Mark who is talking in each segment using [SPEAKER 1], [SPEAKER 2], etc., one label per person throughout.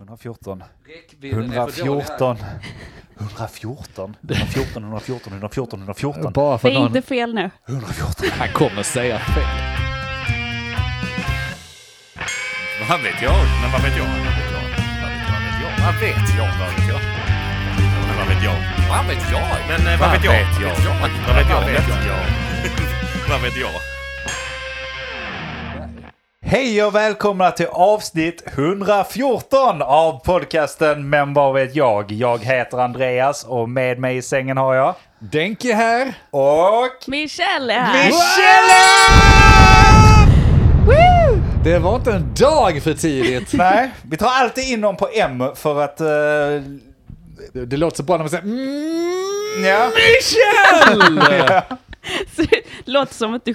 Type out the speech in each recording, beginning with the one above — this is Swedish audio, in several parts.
[SPEAKER 1] 114,
[SPEAKER 2] Räckvidden är för dålig här.
[SPEAKER 1] 114, 114, 114, 114, 114, 114,
[SPEAKER 3] Bara för
[SPEAKER 4] Det
[SPEAKER 3] att
[SPEAKER 4] är
[SPEAKER 3] någon...
[SPEAKER 4] inte fel nu.
[SPEAKER 1] 114.
[SPEAKER 3] Han kommer säga fel.
[SPEAKER 5] Vad vet jag? Men vad vet jag? Vad vet jag? Vad vet jag? Vad vet jag? Men vad vet jag? Vad vet jag? Men eh, vad vet jag? Vad vet jag? Vad vet jag? Vad vet jag?
[SPEAKER 1] Hej och välkomna till avsnitt 114 av podcasten Men vad vet jag? Jag heter Andreas och med mig i sängen har jag...
[SPEAKER 3] Denke här.
[SPEAKER 1] Och...
[SPEAKER 4] Michelle är här.
[SPEAKER 3] Det var inte en dag för tidigt.
[SPEAKER 1] Nej, vi tar alltid in någon på M för att... eh,
[SPEAKER 3] Det, det låter så bra när man säger mm,
[SPEAKER 1] ja.
[SPEAKER 3] Michel!
[SPEAKER 4] Låter som att du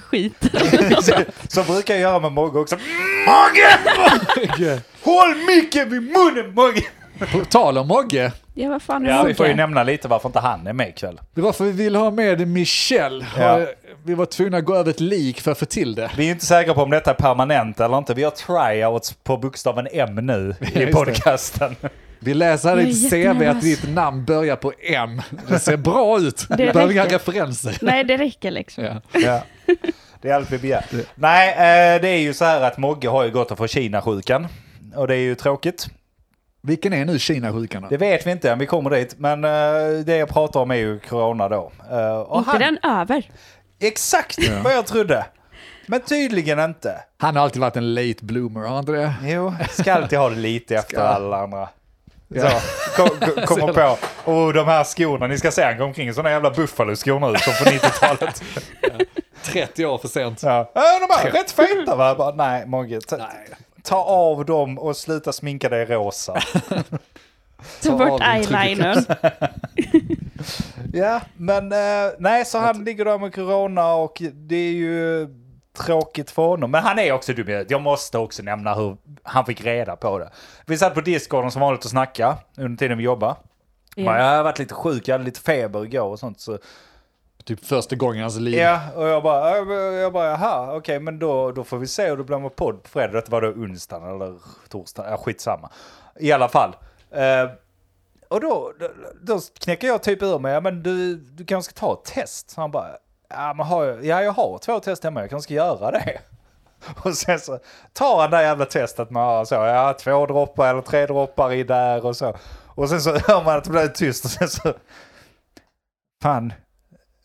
[SPEAKER 4] skiter.
[SPEAKER 1] Så brukar jag göra med Mogge också.
[SPEAKER 3] Mm,
[SPEAKER 1] Mogge! Håll micken vid munnen Mogge!
[SPEAKER 3] På tal om Mogge.
[SPEAKER 4] Ja, vad fan är
[SPEAKER 1] Ja, vi får ju
[SPEAKER 4] Mogge?
[SPEAKER 1] nämna lite varför inte han är med ikväll.
[SPEAKER 3] Det var för vi ville ha med Michel.
[SPEAKER 1] Ja.
[SPEAKER 3] Vi var tvungna att gå över ett lik för att få till det.
[SPEAKER 1] Vi är inte säkra på om detta är permanent eller inte. Vi har tryouts på bokstaven M nu i
[SPEAKER 3] det.
[SPEAKER 1] podcasten.
[SPEAKER 3] Vi läser här i
[SPEAKER 4] Jag är
[SPEAKER 3] ditt CV att
[SPEAKER 4] jättenervös.
[SPEAKER 3] ditt namn börjar på M. Det ser bra ut. Du
[SPEAKER 4] Det
[SPEAKER 3] behöver inga
[SPEAKER 4] räcker.
[SPEAKER 3] referenser.
[SPEAKER 4] Nej, det räcker liksom.
[SPEAKER 3] Ja.
[SPEAKER 1] Ja. Det är allt vi begär. Nej, eh, det är ju så här att Mogge har ju gått och fått Kina-sjukan. Och det är ju tråkigt.
[SPEAKER 3] Vilken är nu Kina-sjukan? då?
[SPEAKER 1] Det vet vi inte än, vi kommer dit. Men eh, det jag pratar om är ju corona då. Eh, och
[SPEAKER 4] Inte
[SPEAKER 1] han-
[SPEAKER 4] den över.
[SPEAKER 1] Exakt vad jag trodde. Men tydligen inte.
[SPEAKER 3] Han har alltid varit en late bloomer, har han inte det?
[SPEAKER 1] Jo, ska alltid ha det lite efter alla andra. Så,
[SPEAKER 3] Ja.
[SPEAKER 1] kom, kom, kommer på, oh, de här skorna, ni ska se han går omkring i sådana jävla Buffalo-skor nu som på 90-talet.
[SPEAKER 3] 30 år för sent.
[SPEAKER 1] Ja. Äh, de här är rätt feta va? Jag Bara, nej, Mogge, ta, ta av dem och sluta sminka dig rosa.
[SPEAKER 4] Ta
[SPEAKER 3] av
[SPEAKER 4] bort
[SPEAKER 3] den
[SPEAKER 4] eyelinern.
[SPEAKER 1] Ja, men eh, nej, så han ligger där med corona och det är ju tråkigt för honom. Men han är också dum i huvudet. Jag måste också nämna hur han fick reda på det. Vi satt på Discorden som vanligt och snackade under tiden vi jobbade. Bara,
[SPEAKER 4] Ja.
[SPEAKER 1] Jag har varit lite sjuk, jag hade lite feber igår och sånt. Så.
[SPEAKER 3] Typ första gången i hans liv.
[SPEAKER 1] Ja, och jag bara, äh, jag bara jaha, okej, men då, då får vi se och då blir man podd på fredag. Det var då onsdagen eller torsdagen, ja, skitsamma. I alla fall. Eh, och då, då, då knäcker jag typ ur mig, ja, men du, du kanske ska ta ett test. Så han bara, ja, men har jag, ja jag har två test hemma, jag kanske ska göra det. Och sen så tar han det här jävla testet med ja, så, ja, två droppar eller tre droppar i där och så. Och sen så hör man att det blir tyst och sen så... Fan,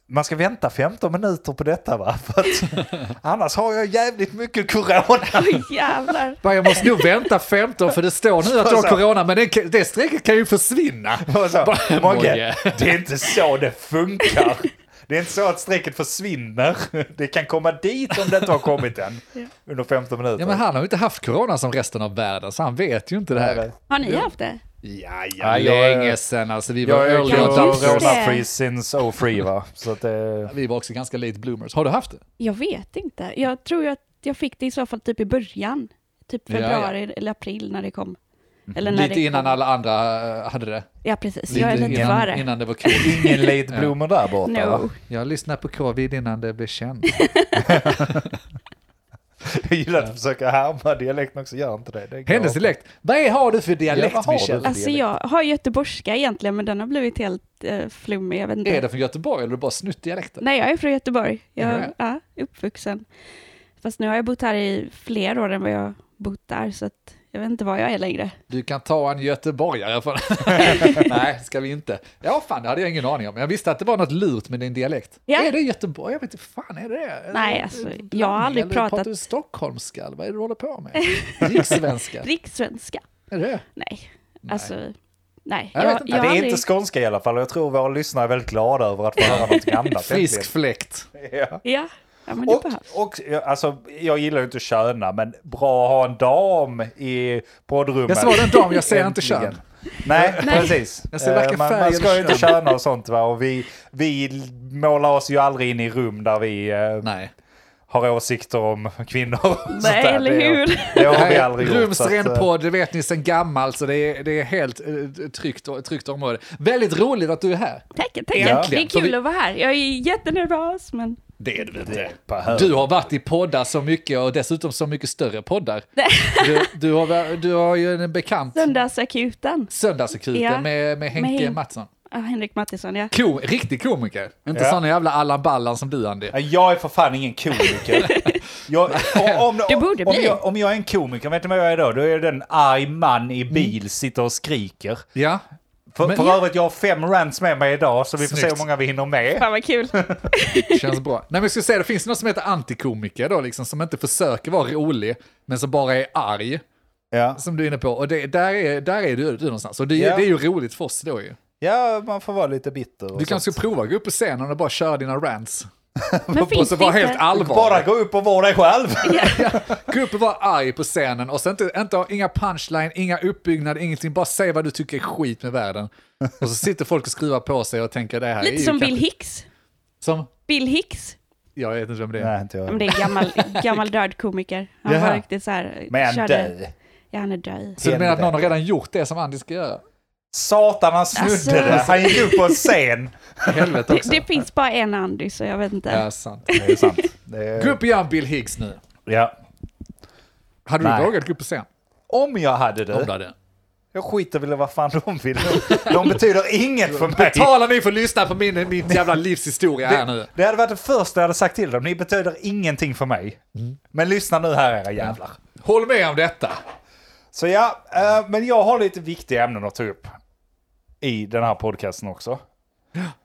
[SPEAKER 1] man ska vänta 15 minuter på detta va? För att, annars har jag jävligt mycket corona.
[SPEAKER 4] Oj, jävlar.
[SPEAKER 3] Bara, Jag måste nog vänta 15 för det står nu att jag har
[SPEAKER 1] Så-
[SPEAKER 3] corona men det, kan- det strecket kan ju försvinna.
[SPEAKER 1] Och så,
[SPEAKER 3] Bara,
[SPEAKER 1] Mogge, det är inte så det funkar. Det är inte så att strecket försvinner. Det kan komma dit om det inte har kommit än. Under 15 minuter.
[SPEAKER 3] Ja men han har ju inte haft corona som resten av världen så han vet ju inte det här.
[SPEAKER 4] Har ni haft det?
[SPEAKER 3] Ja, ja,
[SPEAKER 1] Nej, jag-
[SPEAKER 3] länge sedan alltså. Vi var,
[SPEAKER 1] Jag är
[SPEAKER 3] early
[SPEAKER 4] Ja, just det.
[SPEAKER 3] adopters.
[SPEAKER 1] corona-free since 03 va? Så att eh, det...
[SPEAKER 3] vi var också ganska late bloomers. Har du haft det?
[SPEAKER 4] Jag vet inte. Jag tror ju att jag fick det i så fall typ i början. Typ
[SPEAKER 3] Ja, ja.
[SPEAKER 4] februari eller april när det kom. Eller när
[SPEAKER 3] Lite
[SPEAKER 4] det
[SPEAKER 3] innan
[SPEAKER 4] kom.
[SPEAKER 3] alla andra eh, hade det.
[SPEAKER 4] Ja, precis. Jag är lite
[SPEAKER 3] innan,
[SPEAKER 4] före.
[SPEAKER 3] innan det var kul.
[SPEAKER 1] Ingen late bloomer där borta va?
[SPEAKER 4] No.
[SPEAKER 3] Jag lyssnade på covid innan det blev känt.
[SPEAKER 1] Jag gillar att försöka härma dialekten också, gör inte det. det går.
[SPEAKER 3] Hennes dialekt. Vad är, har du för dialekt
[SPEAKER 1] Ja, vad har du?
[SPEAKER 3] Michel?
[SPEAKER 4] Alltså jag har göteborgska egentligen, men den har blivit helt eh, flummig. Jag vet inte.
[SPEAKER 3] Är det från Göteborg eller har du bara snutt dialekten?
[SPEAKER 4] Nej, jag är från Göteborg. Jag
[SPEAKER 3] Är du det?
[SPEAKER 4] är ja, uppvuxen. Fast nu har jag bott här i fler år än vad jag bott där, så att jag vet inte var jag är längre.
[SPEAKER 3] Du kan ta en göteborgare från... Nej, ska vi inte. Ja, fan, det hade jag ingen aning om. Jag visste att det var något lurt med din dialekt.
[SPEAKER 4] Ja.
[SPEAKER 3] Är det Göteborg? Jag vet inte, fan är det det?
[SPEAKER 4] Nej,
[SPEAKER 3] Är det
[SPEAKER 4] alltså, jag har
[SPEAKER 3] blandning?
[SPEAKER 4] aldrig
[SPEAKER 3] Eller
[SPEAKER 4] pratat-
[SPEAKER 3] Pratar du stockholmska? eller Vad är det du håller på med? Rikssvenska?
[SPEAKER 4] Rikssvenska?
[SPEAKER 3] är det det?
[SPEAKER 4] Nej. Alltså, nej.
[SPEAKER 3] Jag vet inte.
[SPEAKER 1] Ja, det är
[SPEAKER 4] aldrig-
[SPEAKER 1] inte skånska i alla fall och jag tror våra lyssnare är väldigt glada över att få höra något annat.
[SPEAKER 3] Frisk fläkt.
[SPEAKER 1] äntligen. Ja.
[SPEAKER 4] Ja, ja men det
[SPEAKER 1] Och,
[SPEAKER 4] behövs.
[SPEAKER 1] och ja, alltså, jag gillar ju inte att köna, men bra att ha en dam i poddrummet.
[SPEAKER 3] Jag svarar en dam, jag säger inte
[SPEAKER 1] Äntligen.
[SPEAKER 3] kön.
[SPEAKER 1] Nej,
[SPEAKER 4] Nej.
[SPEAKER 1] precis.
[SPEAKER 3] Jag ser varken
[SPEAKER 1] Eh, man,
[SPEAKER 3] färg
[SPEAKER 1] man ska
[SPEAKER 3] eller
[SPEAKER 1] ju inte
[SPEAKER 3] kön.
[SPEAKER 1] köna och sånt va, och vi, vi målar oss ju aldrig in i rum där vi eh,
[SPEAKER 3] Nej.
[SPEAKER 1] har åsikter om kvinnor. och sånt
[SPEAKER 4] Nej,
[SPEAKER 1] där.
[SPEAKER 4] eller
[SPEAKER 1] Det-
[SPEAKER 4] hur?
[SPEAKER 1] Det har vi aldrig gjort. så att, eh,
[SPEAKER 3] Rumsren podd, det vet ni sedan gammalt, så det är, det är helt eh, tryggt, tryggt område. Väldigt roligt att du är här.
[SPEAKER 4] Tack, tack.
[SPEAKER 3] Ja.
[SPEAKER 4] Det är
[SPEAKER 3] För
[SPEAKER 4] kul
[SPEAKER 3] vi-
[SPEAKER 4] att vara här. Jag är jättenervös, men
[SPEAKER 3] Det är du väl inte?
[SPEAKER 1] på hög.
[SPEAKER 3] Du har varit i poddar så mycket och dessutom så mycket större poddar. Du, du, har, va- du har ju en bekant,
[SPEAKER 4] Söndagsakuten.
[SPEAKER 3] Söndagsakuten,
[SPEAKER 4] Ja.
[SPEAKER 3] med, med Henke
[SPEAKER 4] Med Hen-
[SPEAKER 3] Mattsson.
[SPEAKER 4] Ah, Henrik Mattisson, ja.
[SPEAKER 3] Ko, riktig komiker, inte
[SPEAKER 1] Ja.
[SPEAKER 3] sån jävla Allan Ballan som du Andy.
[SPEAKER 1] Ja, Jag är för fan ingen komiker. Jag, om, om,
[SPEAKER 4] Du borde
[SPEAKER 1] om,
[SPEAKER 4] bli.
[SPEAKER 1] jag, om jag är en komiker, vet du vad jag är då? Då är jag den arg man i
[SPEAKER 4] Mm.
[SPEAKER 1] bil, sitter och skriker.
[SPEAKER 3] Ja,
[SPEAKER 1] För,
[SPEAKER 3] Men-
[SPEAKER 1] för övrigt, jag har fem rants med mig idag, så vi får se
[SPEAKER 3] Snyggt.
[SPEAKER 1] hur många vi hinner med.
[SPEAKER 4] Fan vad kul.
[SPEAKER 3] känns bra. Nej men jag skulle säga, det finns något som heter antikomiker då, liksom, som inte försöker vara rolig, men som bara är arg,
[SPEAKER 1] Ja.
[SPEAKER 3] som du är inne på. Och det, där, är, där är du, du någonstans. Och det,
[SPEAKER 1] Ja.
[SPEAKER 3] det är ju roligt för oss då ju.
[SPEAKER 1] ja, man får vara lite bitter. och
[SPEAKER 3] Du
[SPEAKER 1] sånt.
[SPEAKER 3] kanske ska prova att gå upp på scenen och bara köra dina rants.
[SPEAKER 4] Men
[SPEAKER 3] och
[SPEAKER 4] finns
[SPEAKER 3] så
[SPEAKER 4] det
[SPEAKER 3] vara
[SPEAKER 4] inte?
[SPEAKER 3] helt allvarlig.
[SPEAKER 1] Bara gå upp och vara dig själv.
[SPEAKER 3] Gå upp och vara arg på scenen och sen inte, inte ha inga punchline, inga uppbyggnad, ingenting. Bara säg vad du tycker är skit med världen. Och så sitter folk och skruvar på sig och tänker det här är
[SPEAKER 4] Lite
[SPEAKER 3] ju
[SPEAKER 4] som
[SPEAKER 3] kanske-
[SPEAKER 4] Bill Hicks.
[SPEAKER 3] Som?
[SPEAKER 4] Bill Hicks,
[SPEAKER 3] Jag vet inte vem det är.
[SPEAKER 1] Nej, inte
[SPEAKER 4] Ja, men
[SPEAKER 1] jag.
[SPEAKER 4] det är en gammal, gammal död komiker. Han
[SPEAKER 3] Jaha.
[SPEAKER 4] var riktigt så här...
[SPEAKER 1] Men
[SPEAKER 4] körde-
[SPEAKER 1] du,
[SPEAKER 4] Ja, han är död.
[SPEAKER 3] Så du menar att
[SPEAKER 1] helvete.
[SPEAKER 3] någon har redan gjort det som Andy ska göra?
[SPEAKER 1] satan han snodde
[SPEAKER 4] Alltså.
[SPEAKER 1] det. Han gick upp på en scen.
[SPEAKER 3] Helvete
[SPEAKER 4] Det,
[SPEAKER 3] också.
[SPEAKER 4] det finns bara en Andy, så jag vet inte.
[SPEAKER 3] Ja, sant.
[SPEAKER 1] Det är sant. Det är-
[SPEAKER 3] Gå upp och gör en Bill Hicks nu.
[SPEAKER 1] Ja.
[SPEAKER 3] Hade du
[SPEAKER 1] Nej.
[SPEAKER 3] vågat gå upp på scen?
[SPEAKER 1] Om jag hade
[SPEAKER 3] Om du
[SPEAKER 1] det.
[SPEAKER 3] hade.
[SPEAKER 1] Jag skiter väl i vad fan de vill. De betyder inget för mig.
[SPEAKER 3] Betala ni för att lyssna på min, min jävla livshistoria här nu.
[SPEAKER 1] Det hade varit det första jag hade sagt till dem. Ni betyder ingenting för mig.
[SPEAKER 3] Mm.
[SPEAKER 1] Men lyssna nu här era jävlar.
[SPEAKER 3] Håll med om detta.
[SPEAKER 1] Så ja, eh, men jag har lite viktiga ämnen att ta upp i den här podcasten också.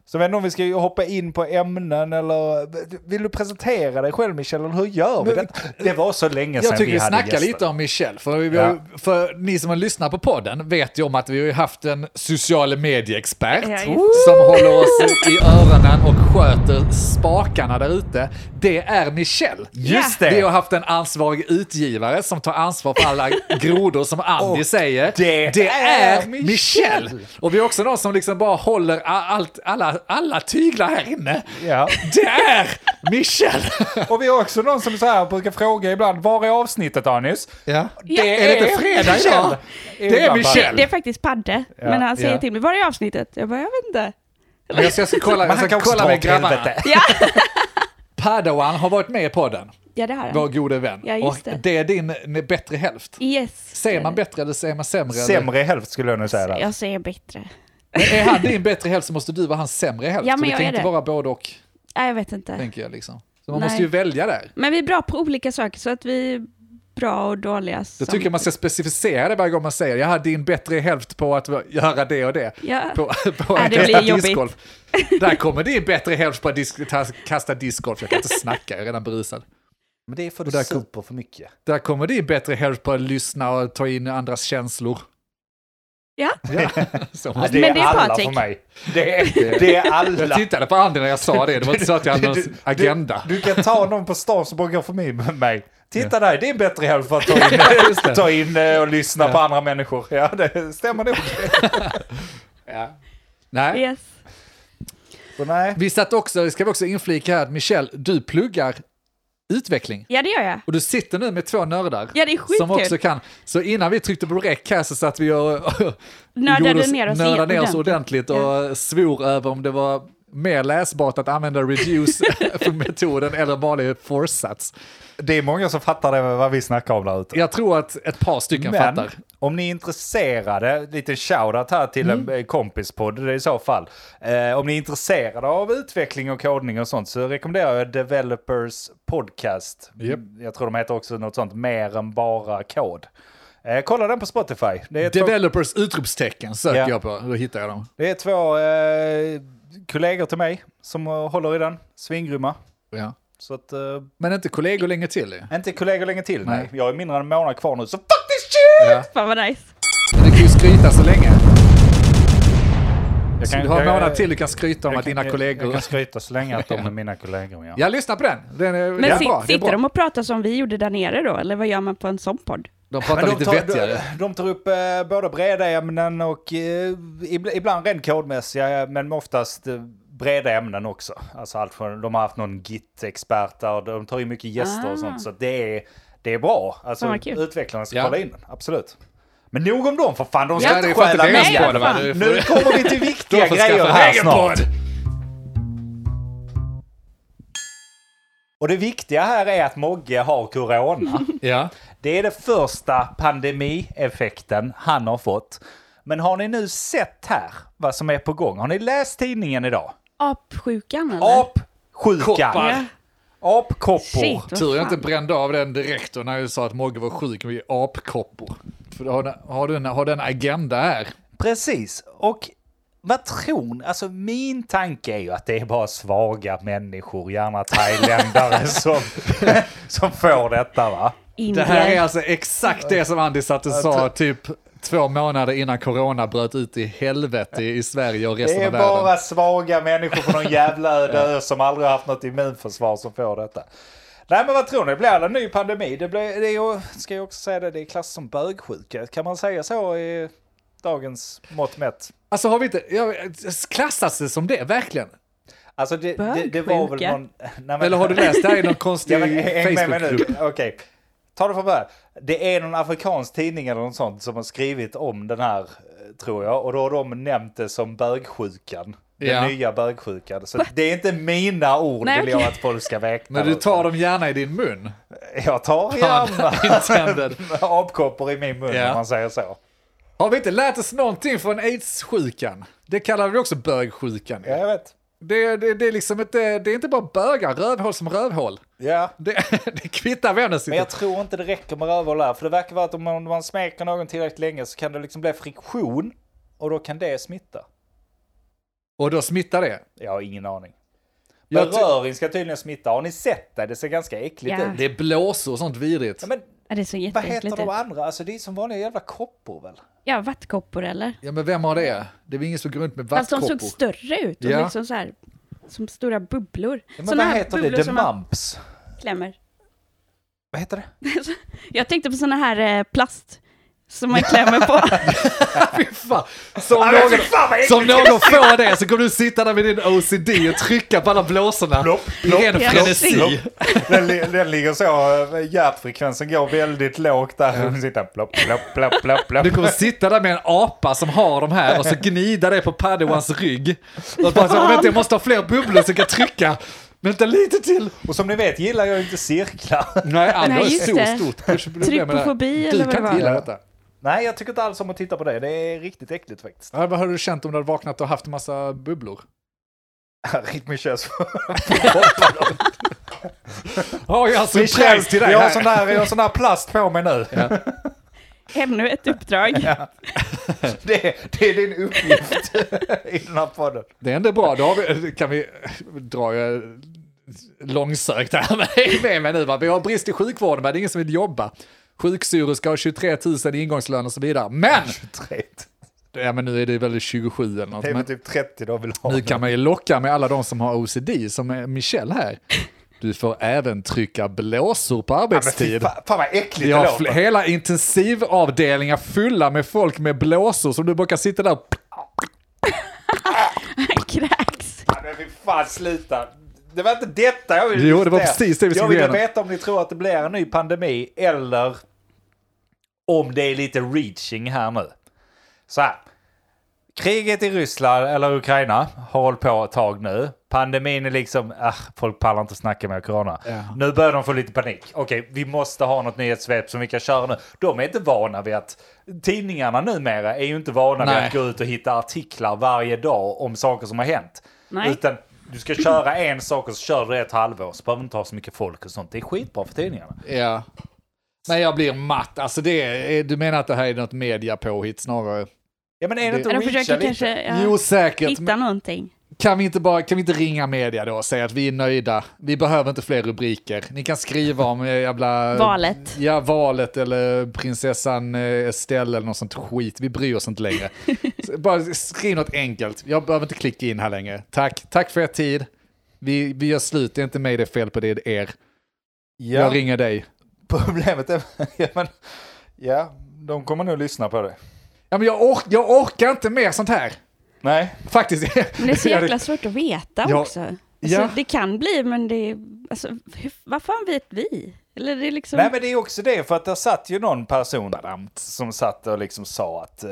[SPEAKER 1] Så jag vet inte om vi ska ju hoppa in på ämnen eller vill du presentera dig själv Michel eller hur gör vi
[SPEAKER 3] Men-
[SPEAKER 1] det? Det var så länge sedan
[SPEAKER 3] Jag tycker vi,
[SPEAKER 1] hade
[SPEAKER 3] snackar
[SPEAKER 1] gäster.
[SPEAKER 3] lite om Michelle, för, vi har, för ni som har lyssnat på podden vet ju om att vi har ju haft en social medieexpert
[SPEAKER 4] Ja, just det.
[SPEAKER 3] som håller oss i öronen och sköter spakarna där ute. Det är Michelle.
[SPEAKER 1] Just
[SPEAKER 3] Vi
[SPEAKER 1] det!
[SPEAKER 3] har haft en ansvarig utgivare som tar ansvar för alla grodor som Andy
[SPEAKER 1] Och
[SPEAKER 3] säger.
[SPEAKER 1] det
[SPEAKER 3] är,
[SPEAKER 1] är
[SPEAKER 3] Michelle.
[SPEAKER 1] Michelle.
[SPEAKER 3] Och vi har också någon som liksom bara håller a- allt, alla, alla tyglar här inne.
[SPEAKER 1] Ja.
[SPEAKER 3] Det är Michelle!
[SPEAKER 1] Och vi har också någon som så här brukar fråga ibland, var är avsnittet Anis?
[SPEAKER 3] Ja.
[SPEAKER 4] Ja.
[SPEAKER 3] Är det inte fredag idag? Det är
[SPEAKER 1] Ibland bara-
[SPEAKER 3] Michelle!
[SPEAKER 4] Det är faktiskt Padde, men han säger
[SPEAKER 1] ja.
[SPEAKER 4] till mig, var är avsnittet? Jag bara, jag vet inte.
[SPEAKER 3] Men jag ska, jag ska kolla,
[SPEAKER 1] Men
[SPEAKER 3] jag
[SPEAKER 1] han
[SPEAKER 3] ska
[SPEAKER 1] kan också
[SPEAKER 3] Alltså, kolla
[SPEAKER 1] dra
[SPEAKER 3] med
[SPEAKER 1] åt
[SPEAKER 3] grabbarna.
[SPEAKER 1] helvete.
[SPEAKER 4] Ja,
[SPEAKER 3] Padawan har varit med i podden,
[SPEAKER 4] ja det har han.
[SPEAKER 3] vår gode vän.
[SPEAKER 4] Ja,
[SPEAKER 3] och
[SPEAKER 4] just det.
[SPEAKER 3] det är din n- bättre hälft.
[SPEAKER 4] Yes.
[SPEAKER 3] Säger man bättre eller säger man sämre? eller?
[SPEAKER 1] Sämre i hälft skulle jag nu säga. där.
[SPEAKER 3] alltså?
[SPEAKER 4] Jag säger bättre.
[SPEAKER 3] Men är han din bättre hälft så måste du vara hans sämre hälft.
[SPEAKER 4] Ja,
[SPEAKER 3] Så
[SPEAKER 4] men
[SPEAKER 3] det
[SPEAKER 4] jag
[SPEAKER 3] kan
[SPEAKER 4] är
[SPEAKER 3] inte
[SPEAKER 4] det.
[SPEAKER 3] vara både och,
[SPEAKER 4] Nej, jag vet inte.
[SPEAKER 3] tänker jag. Liksom. Så man
[SPEAKER 4] Nej.
[SPEAKER 3] måste ju välja där.
[SPEAKER 4] Men vi är bra på olika saker, så att vi är bra och dåliga.
[SPEAKER 3] Jag tycker man ska specificera det varje gång man säger jag hade din bättre hälft på att göra det och det.
[SPEAKER 4] Ja.
[SPEAKER 3] På, på
[SPEAKER 4] Ja,
[SPEAKER 3] att
[SPEAKER 4] det blir
[SPEAKER 3] kasta
[SPEAKER 4] jobbigt.
[SPEAKER 3] discgolf. Där kommer din bättre hälft på att disk, ta, kasta discgolf. Jag kan inte snacka, jag är redan berusad.
[SPEAKER 1] Men det är för
[SPEAKER 3] Och
[SPEAKER 1] att
[SPEAKER 3] där
[SPEAKER 1] du
[SPEAKER 3] kom-
[SPEAKER 1] super för mycket.
[SPEAKER 3] Där kommer din bättre hälft på att lyssna och ta in andras känslor.
[SPEAKER 4] Ja.
[SPEAKER 3] ja. Så
[SPEAKER 1] Ja,
[SPEAKER 3] måste-
[SPEAKER 1] det
[SPEAKER 4] Men
[SPEAKER 1] är
[SPEAKER 4] det är
[SPEAKER 1] alla
[SPEAKER 4] Patrik.
[SPEAKER 1] för mig. Det är, det är alla.
[SPEAKER 3] Jag tittade på Andy när jag sa det, det var inte så att jag hade
[SPEAKER 1] Du-
[SPEAKER 3] någon agenda.
[SPEAKER 1] Du kan ta någon på stan som bara går förbi med mig. Titta där, det är en bättre hälft för att ta in, ta in eh, och lyssna på andra människor. Ja, det stämmer nog.
[SPEAKER 3] Nej.
[SPEAKER 4] Yes.
[SPEAKER 1] Så nej.
[SPEAKER 3] Vi satt också, ska vi också inflika här, att Michelle, du pluggar utveckling.
[SPEAKER 4] Ja, det gör jag.
[SPEAKER 3] Och du sitter nu med två nördar.
[SPEAKER 4] Ja, det är skitkul.
[SPEAKER 3] Som också kan. Så innan vi tryckte på rec här så satt vi och
[SPEAKER 4] Nördade
[SPEAKER 3] gjorde
[SPEAKER 4] ner oss
[SPEAKER 3] nördade ner oss ordentligt
[SPEAKER 4] ordentligt.
[SPEAKER 3] och svor över om det var mer läsbart att använda reduce-metoden eller vanlig forsats.
[SPEAKER 1] Det är många som fattar det, vad vi snackar om där ute.
[SPEAKER 3] Jag tror att ett par stycken
[SPEAKER 1] Men
[SPEAKER 3] fattar.
[SPEAKER 1] om ni är intresserade, lite shoutout här till
[SPEAKER 3] Mm.
[SPEAKER 1] en eh, kompispodd i så fall. Eh, om ni är intresserade av utveckling och kodning och sånt så rekommenderar jag Developers Podcast.
[SPEAKER 3] Japp.
[SPEAKER 1] Jag tror de heter också något sånt, mer än bara kod. Eh, kolla den på Spotify. Det är två
[SPEAKER 3] Developers utropstecken söker
[SPEAKER 1] Ja.
[SPEAKER 3] jag på, då hittar jag dem.
[SPEAKER 1] Det är två eh, kollegor till mig som eh, håller i den. Svingrymma.
[SPEAKER 3] Ja.
[SPEAKER 1] Så att, eh,
[SPEAKER 3] Men inte kollegor länge till. ju.
[SPEAKER 1] inte kollegor länge till. Nej.
[SPEAKER 3] Nej.
[SPEAKER 1] Jag är mindre än en månad kvar nu, så fuck this shit!
[SPEAKER 3] Ja.
[SPEAKER 4] Fan vad nice.
[SPEAKER 3] Men du kan ju skryta så länge.
[SPEAKER 1] Jag
[SPEAKER 3] Så du har en månad till du kan skryta om att dina
[SPEAKER 1] Jag
[SPEAKER 3] kollegor...
[SPEAKER 1] kan skryta så länge att de är mina kollegor. Ja.
[SPEAKER 3] Ja, lyssna på den. den är,
[SPEAKER 4] Men
[SPEAKER 3] det är
[SPEAKER 4] sit,
[SPEAKER 3] bra, det är
[SPEAKER 4] sitter
[SPEAKER 3] bra.
[SPEAKER 4] de och pratar som vi gjorde där nere då, eller vad gör man på en sån podd?
[SPEAKER 3] De pratar
[SPEAKER 1] Men
[SPEAKER 3] lite vettigare.
[SPEAKER 1] de, de tar upp eh, både breda ämnen och eh, ib- ibland rent kodmässiga, men oftast eh, breda ämnen också. Alltså allt från, de har haft någon Git-expert där, och de tar ju mycket gäster och sånt, så att det är, det är bra.
[SPEAKER 4] Ah. Fan,
[SPEAKER 1] Alltså
[SPEAKER 4] vad kul.
[SPEAKER 1] utvecklarna ska
[SPEAKER 3] Ja.
[SPEAKER 1] kolla in den, absolut. Men nog om dem för fan, de ska
[SPEAKER 3] Ja, det är
[SPEAKER 1] inte
[SPEAKER 3] för att
[SPEAKER 1] stjäla
[SPEAKER 3] det är
[SPEAKER 1] min
[SPEAKER 3] deras
[SPEAKER 4] med.
[SPEAKER 1] podd.
[SPEAKER 3] podd. va?
[SPEAKER 4] Nej,
[SPEAKER 3] Du får-
[SPEAKER 1] Nu kommer vi till
[SPEAKER 3] Du
[SPEAKER 1] viktiga
[SPEAKER 3] får skaffa
[SPEAKER 1] grejer
[SPEAKER 3] en
[SPEAKER 1] här
[SPEAKER 3] egen
[SPEAKER 1] snart.
[SPEAKER 3] podd.
[SPEAKER 1] Och det viktiga här är att Mogge har corona.
[SPEAKER 3] Ja.
[SPEAKER 1] Det är den första pandemieffekten han har fått. Men har ni nu sett här vad som är på gång? Har ni läst tidningen idag?
[SPEAKER 4] Apsjukan eller?
[SPEAKER 1] Apsjukan.
[SPEAKER 4] Ja. Shit,
[SPEAKER 1] Apkoppor.
[SPEAKER 4] vad
[SPEAKER 3] Tur jag
[SPEAKER 4] fan.
[SPEAKER 3] inte brände av den direkt då när jag sa att Mogge var sjuk med apkoppor. För har den, har, den, har den agenda här.
[SPEAKER 1] Precis. Och vad tror ni? Alltså min tanke är ju att det är bara svaga människor, gärna thailändare, som, som får detta va?
[SPEAKER 3] Det
[SPEAKER 4] Indier.
[SPEAKER 3] här är alltså exakt det som Andy satte sa typ två månader innan corona bröt ut i helvete i Sverige och resten
[SPEAKER 1] Det är
[SPEAKER 3] av världen.
[SPEAKER 1] bara svaga människor från någon jävla öde ö som aldrig har haft något immunförsvar som får detta. Nej men vad tror ni, det blir alla en ny pandemi? Det, blir, det är, ju- ska jag också säga det, det är klass som bögsjuka. Kan man säga så i dagens mått mätt?
[SPEAKER 3] Alltså har vi inte, ja, klassas det som det verkligen?
[SPEAKER 1] Alltså det, det, det var väl
[SPEAKER 4] Bögsjuka?
[SPEAKER 1] någon... Nej, men-
[SPEAKER 3] Eller har du läst det här i någon
[SPEAKER 1] Ja,
[SPEAKER 3] konstig
[SPEAKER 1] men, häng med mig nu.
[SPEAKER 3] Facebookgrupp?
[SPEAKER 1] Okej. Ta det från början. Det är någon afrikansk tidning eller något sånt som har skrivit om den här, eh, tror jag. Och då har de nämnt det som bögsjukan. Den
[SPEAKER 3] Ja.
[SPEAKER 1] nya bögsjukan. Så det är inte mina ord
[SPEAKER 4] Nej,
[SPEAKER 1] vill jag
[SPEAKER 4] okej.
[SPEAKER 1] att folk ska räkna.
[SPEAKER 3] Men du
[SPEAKER 1] ut.
[SPEAKER 3] tar dem gärna i din mun.
[SPEAKER 1] Jag tar gärna
[SPEAKER 3] Intended.
[SPEAKER 1] apkoppor i min mun
[SPEAKER 3] Ja.
[SPEAKER 1] om man säger så.
[SPEAKER 3] Har vi inte lärt oss någonting från aids-sjukan? Det kallar vi också bögsjukan.
[SPEAKER 1] Ja, jag vet.
[SPEAKER 3] Det, det, det, är liksom inte, det är inte bara bögar, rövhål som rövhål.
[SPEAKER 1] Ja.
[SPEAKER 3] Det, det kvittar vem det
[SPEAKER 1] Men
[SPEAKER 3] sitter
[SPEAKER 1] jag tror inte det räcker med rövhål där. För det verkar vara att om man, om man smeker någon tillräckligt länge så kan det liksom bli friktion. Och då kan det smitta.
[SPEAKER 3] Och då smittar det.
[SPEAKER 1] Jag har ingen aning.
[SPEAKER 3] Jag ty-
[SPEAKER 1] Beröring ska tydligen smitta. Har ni sett det? Det ser ganska äckligt
[SPEAKER 4] Ja.
[SPEAKER 1] ut.
[SPEAKER 3] Det är blåsor och sånt vidrigt.
[SPEAKER 1] Ja, men
[SPEAKER 4] Ja, det såg
[SPEAKER 1] vad heter
[SPEAKER 4] jätteäckligt ut.
[SPEAKER 1] de andra? Alltså det är som vanliga jävla koppor väl?
[SPEAKER 4] Ja, vattkoppor eller?
[SPEAKER 3] Ja men vem har det? Det är väl ingen som går runt med
[SPEAKER 4] Fast de
[SPEAKER 3] vattkoppor.
[SPEAKER 4] såg större ut. Och
[SPEAKER 3] Ja.
[SPEAKER 4] liksom så här, som stora bubblor.
[SPEAKER 1] Ja, men
[SPEAKER 4] Såna
[SPEAKER 1] vad
[SPEAKER 4] här
[SPEAKER 1] heter
[SPEAKER 4] bubblor
[SPEAKER 1] det? The
[SPEAKER 4] som man
[SPEAKER 1] Mumps?
[SPEAKER 4] klämmer.
[SPEAKER 1] Vad heter det?
[SPEAKER 4] Jag tänkte på såna här eh, plast som man klämmer på.
[SPEAKER 3] Fy fan. Som någon, som någon får det så kommer du sitta där med din OCD och trycka på alla blåsorna
[SPEAKER 1] Plopp,
[SPEAKER 3] i ren
[SPEAKER 4] plopp,
[SPEAKER 3] frenesi.
[SPEAKER 1] Den, li- den ligger så, eh, hjärtfrekvensen går väldigt lågt där. Hon sitter plopp, plopp, plopp, plopp, plopp.
[SPEAKER 3] Du kommer sitta där med en apa som har de här och så gnida det på Padawans rygg. Och bara så, vänta jag måste ha fler bubblor så jag kan trycka. Vänta lite till.
[SPEAKER 1] Och som ni vet gillar jag inte cirklar.
[SPEAKER 3] Nej, Andy har
[SPEAKER 4] Nej,
[SPEAKER 3] ett
[SPEAKER 4] just
[SPEAKER 3] stort,
[SPEAKER 4] det.
[SPEAKER 3] stort problem med det här.
[SPEAKER 4] Trypofobi
[SPEAKER 3] Du
[SPEAKER 4] eller vad
[SPEAKER 3] kan
[SPEAKER 4] det
[SPEAKER 3] inte gilla
[SPEAKER 4] var.
[SPEAKER 3] detta.
[SPEAKER 1] Nej, jag tycker inte alls om att titta på det. Det är riktigt äckligt faktiskt.
[SPEAKER 3] Ja, vad hade du känt om du hade vaknat och haft en massa bubblor?
[SPEAKER 1] Rytmikös.
[SPEAKER 3] Typ Har jag alltså en päls till dig
[SPEAKER 1] Jag har
[SPEAKER 3] här?
[SPEAKER 1] sån där, jag har sån där plast på mig nu.
[SPEAKER 4] Ännu ett uppdrag.
[SPEAKER 1] Det, det är din uppgift i den här podden.
[SPEAKER 3] Det är ändå bra, då har vi, kan vi dra eh, långsökt här med, med mig nu. Va? Vi har brist i sjukvården, va? det är ingen som vill jobba. Sjuksyrror ska ha 23 000 i ingångslön och så vidare. Men!
[SPEAKER 1] Tret.
[SPEAKER 3] Ja men nu är det väl 27 eller något.
[SPEAKER 1] Det är
[SPEAKER 3] Men
[SPEAKER 1] väl typ 30 de vill ha.
[SPEAKER 3] nu kan man ju locka med alla de som har OCD, som är Michelle här. Du får även trycka blåsor på
[SPEAKER 1] Ja, men fy
[SPEAKER 3] arbetstid.
[SPEAKER 1] fan, fan vad äckligt
[SPEAKER 3] Vi
[SPEAKER 1] det
[SPEAKER 3] har
[SPEAKER 1] låter.
[SPEAKER 3] fl- hela intensivavdelningar fulla med folk med blåsor som du brukar sitta där och
[SPEAKER 4] Kräks.
[SPEAKER 1] Ja, Men fy fan sluta. Det var inte detta jag ville
[SPEAKER 3] Jo, det var
[SPEAKER 1] diskutera.
[SPEAKER 3] precis det vi skulle
[SPEAKER 1] Jag ville
[SPEAKER 3] gå igenom.
[SPEAKER 1] veta om ni tror att det blir en ny pandemi eller om det är lite reaching här nu. Så här. Kriget i Ryssland eller Ukraina har hållit på ett tag nu. Pandemin är liksom, ah, folk pallar inte snacka med corona.
[SPEAKER 3] Ja.
[SPEAKER 1] Nu börjar de få lite panik. Okej, vi måste ha något nyhetssvep som vi kan köra nu. De är inte vana vid att, tidningarna numera är ju inte vana vid
[SPEAKER 3] Nej.
[SPEAKER 1] att gå ut och hitta artiklar varje dag om saker som har hänt.
[SPEAKER 4] Nej.
[SPEAKER 1] Utan du ska köra en sak och så kör du det ett halvår, så behöver du inte ha så mycket folk och sånt. Det är skitbra för tidningarna.
[SPEAKER 3] Ja. Men jag blir matt. Alltså det är, du menar att det här är något mediapåhitt snarare?
[SPEAKER 1] Ja men är det inte
[SPEAKER 4] De
[SPEAKER 1] att reacha
[SPEAKER 4] försöker
[SPEAKER 1] lite?
[SPEAKER 4] kanske ja,
[SPEAKER 3] Jo, säkert.
[SPEAKER 4] hitta någonting.
[SPEAKER 3] Kan vi, inte bara, kan vi inte ringa media då och säga att vi är nöjda? Vi behöver inte fler rubriker. Ni kan skriva om eh, jävla...
[SPEAKER 4] Valet.
[SPEAKER 3] Ja, valet eller prinsessan eh, Estelle eller något sånt skit. Vi bryr oss inte längre. Så bara skriv något enkelt. Jag behöver inte klicka in här längre. Tack. Tack för er tid. Vi, vi gör slut. Det är inte mig det är fel på, det är er. Jag ringer dig.
[SPEAKER 1] Problemet är... Ja, men, ja, de kommer nog lyssna på det.
[SPEAKER 3] Ja, men jag, ork, jag orkar inte mer sånt här.
[SPEAKER 1] Nej,
[SPEAKER 3] Faktiskt.
[SPEAKER 4] Men det är så
[SPEAKER 3] Ja,
[SPEAKER 4] jäkla svårt att veta
[SPEAKER 3] Ja.
[SPEAKER 4] också. Alltså,
[SPEAKER 3] Ja.
[SPEAKER 4] Det kan bli, men det är... Alltså, hur, vad fan vet vi? Eller det är liksom...
[SPEAKER 1] Nej men det är också det, för att där satt ju någon person som satt och liksom sa att eh,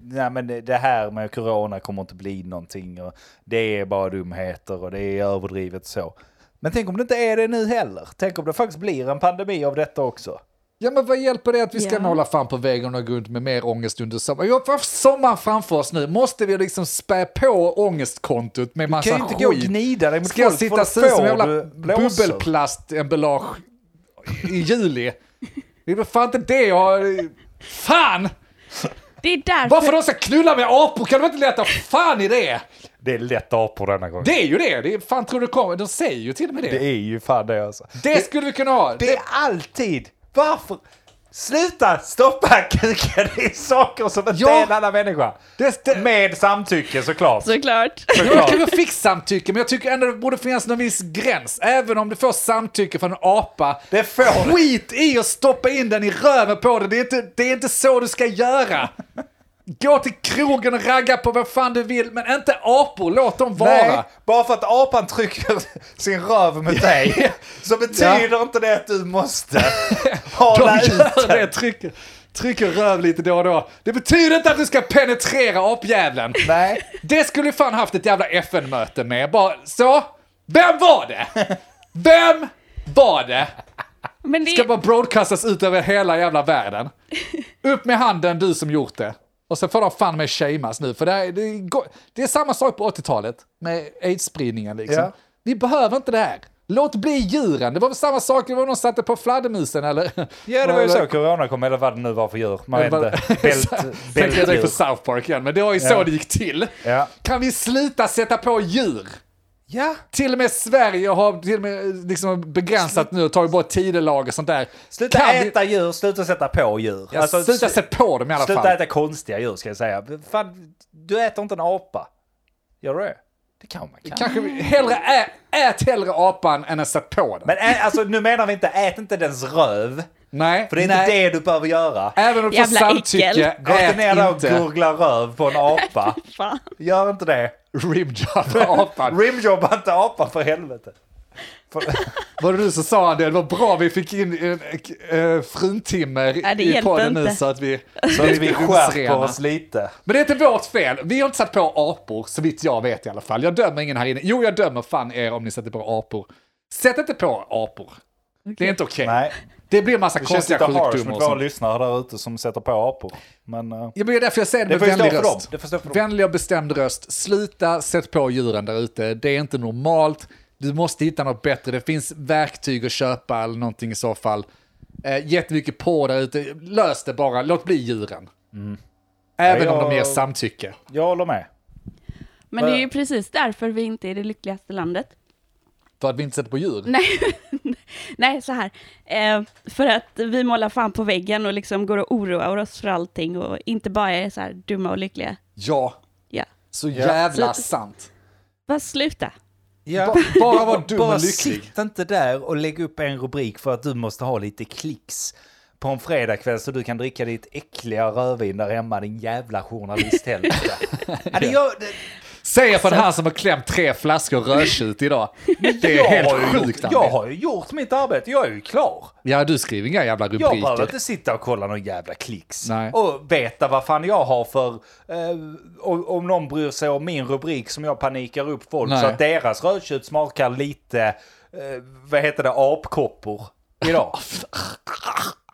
[SPEAKER 1] Nej men det- det här med corona kommer inte bli någonting och det är bara dumheter och det är överdrivet så. Men tänk om det inte är det nu heller. Tänk om det faktiskt blir en pandemi av detta
[SPEAKER 3] Alltså,
[SPEAKER 1] också.
[SPEAKER 3] Ja men vad hjälper det att vi ska
[SPEAKER 4] Ja.
[SPEAKER 3] måla fan på väggen och gå runt med mer ångest under sommaren? Vi har haft sommaren framför oss nu, måste vi liksom spä på ångestkontot med
[SPEAKER 1] Du kan
[SPEAKER 3] massa
[SPEAKER 1] ju inte
[SPEAKER 3] skit?
[SPEAKER 1] gå och gnida dig mot
[SPEAKER 3] Ska jag
[SPEAKER 1] folk,
[SPEAKER 3] sitta
[SPEAKER 1] för
[SPEAKER 3] och
[SPEAKER 1] då
[SPEAKER 3] se som
[SPEAKER 1] får
[SPEAKER 3] jävla
[SPEAKER 1] du blåsor.
[SPEAKER 3] bubbelplastemballage i juli? Det är väl fan inte det jag... Fan!
[SPEAKER 4] Det är därför...
[SPEAKER 3] Varför de ska knulla med apor kan de inte leta fan i det?
[SPEAKER 1] Det är lätt apor denna gången. Det,
[SPEAKER 3] Det är ju det! det är, fan tror du det kommer? De säger ju till och med det. Det,
[SPEAKER 1] är ju fan det alltså.
[SPEAKER 3] skulle vi kunna ha!
[SPEAKER 1] Det är alltid... Varför? Sluta stoppa kuken i saker som inte
[SPEAKER 3] Ja.
[SPEAKER 1] är en annan människa.
[SPEAKER 3] Det- det-
[SPEAKER 1] Med samtycke såklart.
[SPEAKER 4] Såklart.
[SPEAKER 3] Jag
[SPEAKER 1] såklart.
[SPEAKER 3] kanske fick samtycke, men jag tycker ändå det borde finnas någon viss gräns. Även om du får samtycke från en apa.
[SPEAKER 1] Det får du.
[SPEAKER 3] Skit i att stoppa in den i röven på dig. Det är inte, det är inte så du ska göra. Gå till krogen och ragga på vad fan du vill, men inte apor. Låt dem vara.
[SPEAKER 1] Nej, bara för att apan trycker sin röv mot dig så betyder inte det att du måste
[SPEAKER 3] De
[SPEAKER 1] hala ut
[SPEAKER 3] gör det, trycker, trycker röv lite då och då. Det betyder inte att du ska penetrera apjäveln.
[SPEAKER 1] Nej.
[SPEAKER 3] Det skulle fan haft ett jävla FN-möte med. Bara så, vem var det? Vem var det?
[SPEAKER 4] Men det
[SPEAKER 3] Ska bara broadcastas ut över hela jävla världen. Upp med handen du som gjort det. Och så får de fan med shameas nu, för det är, det, är, go- det är samma sak på 80-talet med aids-spridningen liksom.
[SPEAKER 1] Ja.
[SPEAKER 3] Vi behöver inte det här. Låt bli djuren. Det var väl samma sak, det var någon som satte på fladdermusen eller?
[SPEAKER 1] Ja, det var ju
[SPEAKER 3] eller-
[SPEAKER 1] så corona kom, eller vad det nu var för djur. Man vet
[SPEAKER 3] Eller vad-
[SPEAKER 1] inte. Bält,
[SPEAKER 3] Sen kan jag direkt på
[SPEAKER 1] bältdjur.
[SPEAKER 3] South Park igen, men det var ju så
[SPEAKER 1] Ja.
[SPEAKER 3] det gick till.
[SPEAKER 1] Ja.
[SPEAKER 3] Kan vi sluta sätta på djur?
[SPEAKER 1] Ja.
[SPEAKER 3] Till och med Sverige har till och med liksom begränsat nu och tagit bort tidelag och sånt där.
[SPEAKER 1] Sluta
[SPEAKER 3] Kan vi-
[SPEAKER 1] äta djur, sluta sätta på djur.
[SPEAKER 3] Ja, sluta sätta på dem i alla
[SPEAKER 1] Alltså, sluta
[SPEAKER 3] fall.
[SPEAKER 1] äta konstiga djur ska jag säga. Fan, du äter inte en apa. Gör du det? Det kan man kanske.
[SPEAKER 3] Kanske vi- hellre ä, ät hellre apan än att sätta på den.
[SPEAKER 1] Men ä, alltså, nu menar vi inte, ät inte dens röv.
[SPEAKER 3] nej,
[SPEAKER 1] För det är
[SPEAKER 3] nej.
[SPEAKER 1] inte det du behöver göra.
[SPEAKER 3] Även om du får
[SPEAKER 4] Jävla äckel.
[SPEAKER 3] samtycke,
[SPEAKER 1] Gå inte ner där
[SPEAKER 3] ät
[SPEAKER 1] och
[SPEAKER 3] inte
[SPEAKER 1] gurgla röv på en apa.
[SPEAKER 4] Fan.
[SPEAKER 1] Gör inte det.
[SPEAKER 3] ribjob apan.
[SPEAKER 1] Rimjobba inte apan för helvete. För,
[SPEAKER 3] Var det du som sa det? Det var bra vi fick in äh, äh, fruntimmer
[SPEAKER 4] Nej, det
[SPEAKER 3] i
[SPEAKER 4] hjälpte
[SPEAKER 3] podden nu
[SPEAKER 4] inte.
[SPEAKER 3] så att vi...
[SPEAKER 1] så att vi skärper
[SPEAKER 3] rumsrena.
[SPEAKER 1] oss lite.
[SPEAKER 3] Men det är inte vårt fel. Vi har inte satt på apor, så vitt jag vet i alla fall. Jag dömer ingen här inne. Jo, jag dömer fan er om ni sätter på apor. Sätt inte på apor. Det är inte okej.
[SPEAKER 1] Nej,
[SPEAKER 3] Det blir massa
[SPEAKER 1] det känns
[SPEAKER 3] konstiga
[SPEAKER 1] lite harsh
[SPEAKER 3] sjukdomar
[SPEAKER 1] mot
[SPEAKER 3] och
[SPEAKER 1] våra
[SPEAKER 3] sånt.
[SPEAKER 1] lyssnare där ute som sätter på apor. Men eh,
[SPEAKER 3] Ja, men det är därför jag säger det
[SPEAKER 1] det får
[SPEAKER 3] med
[SPEAKER 1] ju stå
[SPEAKER 3] vänlig
[SPEAKER 1] för dem.
[SPEAKER 3] röst.
[SPEAKER 1] Det får stå för dem.
[SPEAKER 3] Vänlig och bestämd röst. Sluta sätt på djuren där ute. Det är inte normalt. Du måste hitta något bättre. Det finns verktyg att köpa eller någonting i så fall. Eh, jättemycket på där ute. Lös det bara. Låt bli djuren. Även
[SPEAKER 1] Mm. Ja, jag-
[SPEAKER 3] om de ger samtycke.
[SPEAKER 1] Jag håller med.
[SPEAKER 4] Men det är ju precis därför vi inte är det lyckligaste landet.
[SPEAKER 3] För att vi inte sätter på djur.
[SPEAKER 4] Nej, nej så här. Eh, för att vi målar fan på väggen och liksom går och oroar oss för allting och inte bara är så här dumma och lyckliga.
[SPEAKER 3] Ja,
[SPEAKER 4] Ja.
[SPEAKER 3] så jävla
[SPEAKER 4] Så-
[SPEAKER 3] sant.
[SPEAKER 4] Bara sluta.
[SPEAKER 1] Ja.
[SPEAKER 3] Ba- bara vara dum
[SPEAKER 1] Bara
[SPEAKER 3] och lycklig.
[SPEAKER 1] sitt inte där och lägg upp en rubrik för att du måste ha lite klicks på en fredagkväll så du kan dricka ditt äckliga rödvin där hemma, din jävla journalisthelvete. ja, det gör, det,
[SPEAKER 3] Säger för den här som har klämt tre flaskor rödtjut idag.
[SPEAKER 1] jag
[SPEAKER 3] Det är helt
[SPEAKER 1] har ju
[SPEAKER 3] sjukt.
[SPEAKER 1] gjort,
[SPEAKER 3] Andy.
[SPEAKER 1] Jag har ju gjort mitt arbete, jag är ju klar.
[SPEAKER 3] Ja, du skriver inga jävla
[SPEAKER 1] Jag behöver
[SPEAKER 3] rubriker.
[SPEAKER 1] inte sitta och kolla någon jävla klicks.
[SPEAKER 3] Nej.
[SPEAKER 1] Och veta vad fan jag har för... Eh, om, om någon bryr sig om min rubrik som jag panikar upp folk
[SPEAKER 3] Nej.
[SPEAKER 1] så att deras rödtjut smakar lite... Eh, vad heter det? Apkoppor. Idag.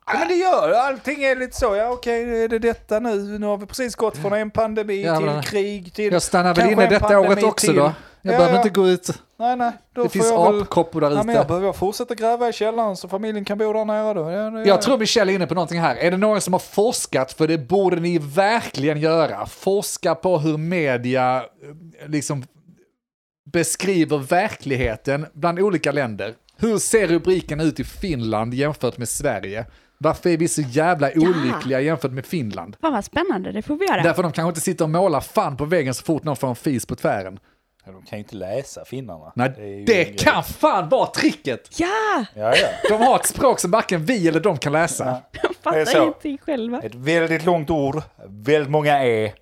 [SPEAKER 1] Ja, men det gör det. Allting är lite så. Ja, okej, är det detta nu? Nu har vi precis gått från en pandemi
[SPEAKER 3] Jävlar.
[SPEAKER 1] till krig till...
[SPEAKER 3] Jag stannar väl
[SPEAKER 1] kanske
[SPEAKER 3] inne
[SPEAKER 1] en
[SPEAKER 3] detta
[SPEAKER 1] pandemi
[SPEAKER 3] året också
[SPEAKER 1] till.
[SPEAKER 3] då. Jag
[SPEAKER 1] Ja,
[SPEAKER 3] behöver
[SPEAKER 1] ja.
[SPEAKER 3] inte gå ut.
[SPEAKER 1] Nej, nej. Då
[SPEAKER 3] Det
[SPEAKER 1] får
[SPEAKER 3] finns
[SPEAKER 1] jag väl...
[SPEAKER 3] apkoppor där
[SPEAKER 1] Ja, men jag
[SPEAKER 3] ute.
[SPEAKER 1] behöver fortsätta gräva i källaren så familjen kan bo där nere då. Ja, det-
[SPEAKER 3] Jag tror Michelle är inne på någonting här. Är det någon som har forskat? För det borde ni verkligen göra. Forska på hur media eh, liksom beskriver verkligheten bland olika länder. Hur ser rubriken ut i Finland jämfört med Sverige? Varför är vi så jävla olyckliga jämfört med Finland?
[SPEAKER 4] Fan vad spännande, det får vi göra.
[SPEAKER 3] Därför de kanske inte sitter och målar fan på väggen så fort någon får en fis på tvären.
[SPEAKER 1] Ja, de kan ju inte läsa finnarna.
[SPEAKER 3] Nej,
[SPEAKER 1] är ju
[SPEAKER 3] det,
[SPEAKER 1] en grej.
[SPEAKER 3] kan fan vara tricket!
[SPEAKER 4] Ja,
[SPEAKER 1] Ja, ja.
[SPEAKER 3] De har ett språk som varken vi eller de kan läsa.
[SPEAKER 4] de
[SPEAKER 1] Det är så.
[SPEAKER 4] fattar ingenting själva.
[SPEAKER 1] Ett väldigt långt ord, väldigt många e.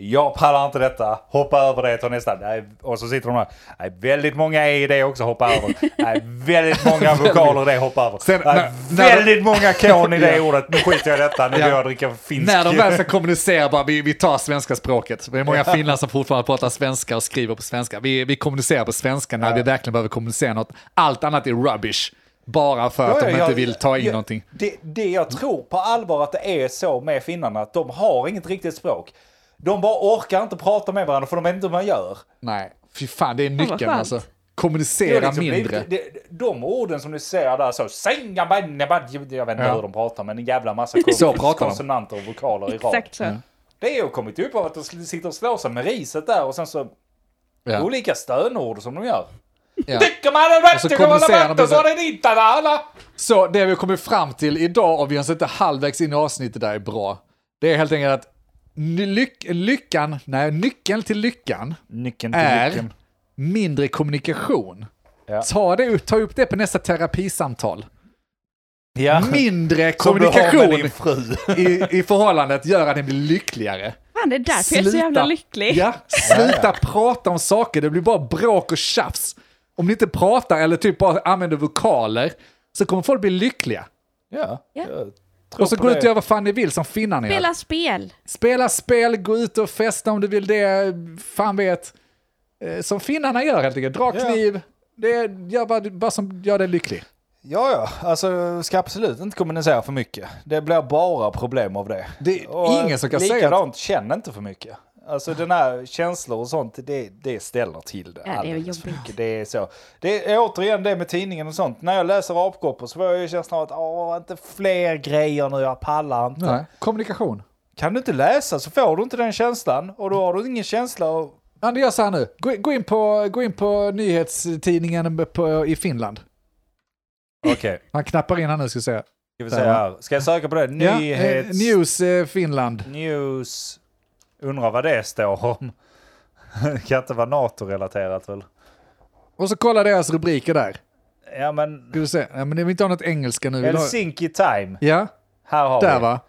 [SPEAKER 1] Jag pallar inte detta. Hoppa över det, ta nästa. Nej, och så sitter de här. Nej, väldigt många är i det också, hoppa över. Nej, väldigt många vokaler i det, hoppa över.
[SPEAKER 3] Sen,
[SPEAKER 1] Nej,
[SPEAKER 3] när- när de-
[SPEAKER 1] väldigt många kon i det
[SPEAKER 3] Ja.
[SPEAKER 1] ordet. Nu skiter jag i detta, nu
[SPEAKER 3] Ja.
[SPEAKER 1] går jag och dricker finsk.
[SPEAKER 3] När de väl ska kommunicera, bara, vi, vi tar svenska språket. Det är många finnar som fortfarande pratar svenska och skriver på svenska. Vi, vi kommunicerar på svenska när vi verkligen behöver kommunicera något. Allt annat är rubbish. Bara för att
[SPEAKER 1] Ja,
[SPEAKER 3] de
[SPEAKER 1] ja,
[SPEAKER 3] inte
[SPEAKER 1] jag-
[SPEAKER 3] vill ta in
[SPEAKER 1] jag-
[SPEAKER 3] någonting.
[SPEAKER 1] Det, det jag tror på allvar att det är så med finnarna, att de har inget riktigt språk. De bara orkar inte prata med varandra för de vet inte hur man gör.
[SPEAKER 3] Nej, fy fan, det är
[SPEAKER 4] vad
[SPEAKER 3] nyckeln
[SPEAKER 4] skönt.
[SPEAKER 3] alltså.
[SPEAKER 1] Det är
[SPEAKER 3] Kommunicera
[SPEAKER 1] liksom-
[SPEAKER 3] mindre.
[SPEAKER 1] Det, det, de orden som du ser där så, sänga, banne, banne, jag vet inte
[SPEAKER 3] Ja.
[SPEAKER 1] hur de pratar, men en jävla massa kon-
[SPEAKER 3] Så pratar de.
[SPEAKER 1] konsonanter och vokaler i rad.
[SPEAKER 4] Exakt så.
[SPEAKER 1] Det har ju kommit upp av att de sl- sitter och slår sig med riset där och sen så
[SPEAKER 3] Ja.
[SPEAKER 1] olika stönord som de gör.
[SPEAKER 3] Ja.
[SPEAKER 1] Tycker man en
[SPEAKER 3] Och så
[SPEAKER 1] vatten kommer
[SPEAKER 3] kommunicerar de
[SPEAKER 1] alla vatten så
[SPEAKER 3] med-
[SPEAKER 1] är det ditt alla.
[SPEAKER 3] Så det vi kommer fram till idag, och vi har sett det halvvägs in i avsnittet där är bra, det är helt enkelt att ny- lyck, lyckan, nej, nyckeln till lyckan
[SPEAKER 1] Nyckeln
[SPEAKER 3] är mindre kommunikation.
[SPEAKER 1] Ja.
[SPEAKER 3] Ta, det, upp- ta upp det på nästa terapisamtal.
[SPEAKER 1] Ja.
[SPEAKER 3] Mindre
[SPEAKER 1] Som du har med
[SPEAKER 3] kommunikation
[SPEAKER 1] din fru.
[SPEAKER 3] i, i förhållandet gör att den blir lyckligare.
[SPEAKER 4] Fan, det är därför jag är så jävla lycklig.
[SPEAKER 3] Ja, sluta prata om saker, det blir bara bråk och tjafs. Om ni inte pratar eller typ bara använder vokaler så kommer folk bli lyckliga.
[SPEAKER 1] Ja.
[SPEAKER 4] Ja.
[SPEAKER 1] jag tror
[SPEAKER 3] Och så
[SPEAKER 1] på
[SPEAKER 3] gå
[SPEAKER 1] det.
[SPEAKER 3] ut och gör vad fan ni vill som finnarna gör.
[SPEAKER 4] Spela spel.
[SPEAKER 3] Spela spel, gå ut och festa om du vill det, fan vet. Eh, Som finnarna gör helt enkelt, dra
[SPEAKER 1] Ja.
[SPEAKER 3] kniv. Det är, gör vad, vad som gör dig lycklig.
[SPEAKER 1] Ja, ja. Alltså, ska absolut inte kommunicera för mycket. Det blir bara problem av det.
[SPEAKER 3] Det är ingen som kan säga att-
[SPEAKER 1] Likadant, känn inte för mycket. Alltså den här känslor och sånt, det, det ställer till det.
[SPEAKER 4] Ja, det är
[SPEAKER 1] alldeles
[SPEAKER 4] jobbigt.
[SPEAKER 1] för mycket. Det är så. Det är återigen det med tidningen och sånt. När jag läser apkoppor så får jag ju känslan av att åh, inte fler grejer nu, jag pallar inte.
[SPEAKER 3] Nej. Kommunikation.
[SPEAKER 1] Kan du inte läsa så får du inte den känslan och då har du ingen känsla av...
[SPEAKER 3] Anders, gör så här nu. Gå, gå, in på, gå in på nyhetstidningen på, i Finland.
[SPEAKER 1] Okej,
[SPEAKER 3] Han knappar in här nu ska jag säga.
[SPEAKER 1] ska vi se här. Ska jag söka på det?
[SPEAKER 3] Ja, eh,
[SPEAKER 1] Nyhets...
[SPEAKER 3] news eh, Finland.
[SPEAKER 1] News. Undrar vad det står om. Det kan inte vara NATO-relaterat väl?
[SPEAKER 3] Och så kolla deras rubriker där.
[SPEAKER 1] Ja men,
[SPEAKER 3] Ska du se? Ja, men vi vill inte ha något engelska nu. Vi vill ha-
[SPEAKER 1] Helsinki time.
[SPEAKER 3] Ja,
[SPEAKER 1] Här har
[SPEAKER 3] där
[SPEAKER 1] vi.
[SPEAKER 3] va?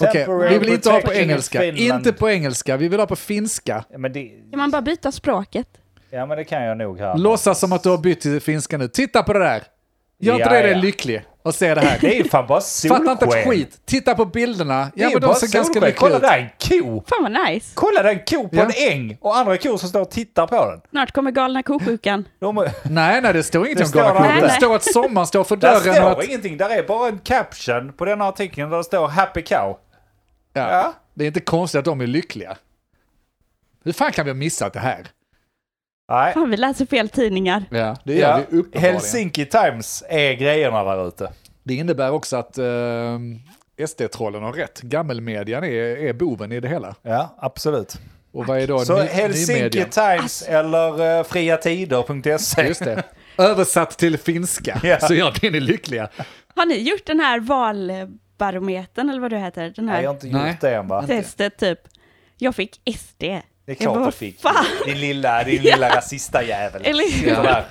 [SPEAKER 3] Okej,
[SPEAKER 1] Temporary
[SPEAKER 3] vi vill inte ha på
[SPEAKER 1] protection in
[SPEAKER 3] engelska.
[SPEAKER 1] Finland.
[SPEAKER 3] Inte på engelska, vi vill ha på finska.
[SPEAKER 1] Ja men, det,
[SPEAKER 4] Kan man bara byta språket?
[SPEAKER 1] ja men det kan jag nog här.
[SPEAKER 3] Låtsas som att du har bytt till finska nu. Titta på det där! Gör inte
[SPEAKER 1] Ja,
[SPEAKER 3] det, det är
[SPEAKER 1] ja.
[SPEAKER 3] lycklig. Och se det här.
[SPEAKER 1] Det är ju fan bara solsken.
[SPEAKER 3] Fattar inte ett skit. Titta på bilderna.
[SPEAKER 1] Det är
[SPEAKER 3] Ja,
[SPEAKER 1] ju
[SPEAKER 3] men
[SPEAKER 1] bara
[SPEAKER 3] de ser ganska
[SPEAKER 1] solsken.
[SPEAKER 3] lyckliga
[SPEAKER 1] Kolla
[SPEAKER 3] ut.
[SPEAKER 1] där, en ko!
[SPEAKER 4] Fan vad nice.
[SPEAKER 1] Kolla där, en ko på
[SPEAKER 3] Ja.
[SPEAKER 1] en äng! Och andra kor som står och tittar på den.
[SPEAKER 4] Snart kommer galna ko-sjukan.
[SPEAKER 1] De,
[SPEAKER 3] Nej, nej, det står inget
[SPEAKER 1] Det
[SPEAKER 3] om
[SPEAKER 1] står
[SPEAKER 3] galna
[SPEAKER 1] där
[SPEAKER 3] ko. Det
[SPEAKER 4] inte.
[SPEAKER 3] står att sommaren står för
[SPEAKER 1] där
[SPEAKER 3] dörren. och
[SPEAKER 1] står
[SPEAKER 3] att,
[SPEAKER 1] ingenting, där är bara en caption på den här artikeln där det står Happy Cow.
[SPEAKER 3] ja, det är inte konstigt att de är lyckliga. Hur fan kan vi ha missat det här?
[SPEAKER 1] Nej.
[SPEAKER 4] Fan, vi läser fel tidningar.
[SPEAKER 3] Ja, det gör
[SPEAKER 1] Ja.
[SPEAKER 3] vi uppenbarligen.
[SPEAKER 1] Helsinki Times är grejerna där ute.
[SPEAKER 3] Det innebär också att eh, SD-trollen har rätt. Gammelmedian är, är boven i det hela.
[SPEAKER 1] Ja, absolut.
[SPEAKER 3] Och vad är då
[SPEAKER 1] Så
[SPEAKER 3] ny,
[SPEAKER 1] Helsinki
[SPEAKER 3] nymedian?
[SPEAKER 1] Times
[SPEAKER 4] Alltså-
[SPEAKER 1] eller uh, friatider.se.
[SPEAKER 3] Just det. Översatt till finska
[SPEAKER 1] Ja.
[SPEAKER 3] så gör det ni lyckliga.
[SPEAKER 4] Har ni gjort den här valbarometern eller vad det heter? Den
[SPEAKER 1] Nej,
[SPEAKER 4] här
[SPEAKER 1] jag har inte gjort
[SPEAKER 3] Nej.
[SPEAKER 1] det än va?
[SPEAKER 4] testet typ. Jag fick SD.
[SPEAKER 1] Det är
[SPEAKER 4] jag
[SPEAKER 1] klart
[SPEAKER 4] bara,
[SPEAKER 1] du fick.
[SPEAKER 4] Fan.
[SPEAKER 1] Din lilla, din lilla rasistajävel.
[SPEAKER 4] Eller hur?
[SPEAKER 1] Sitter där.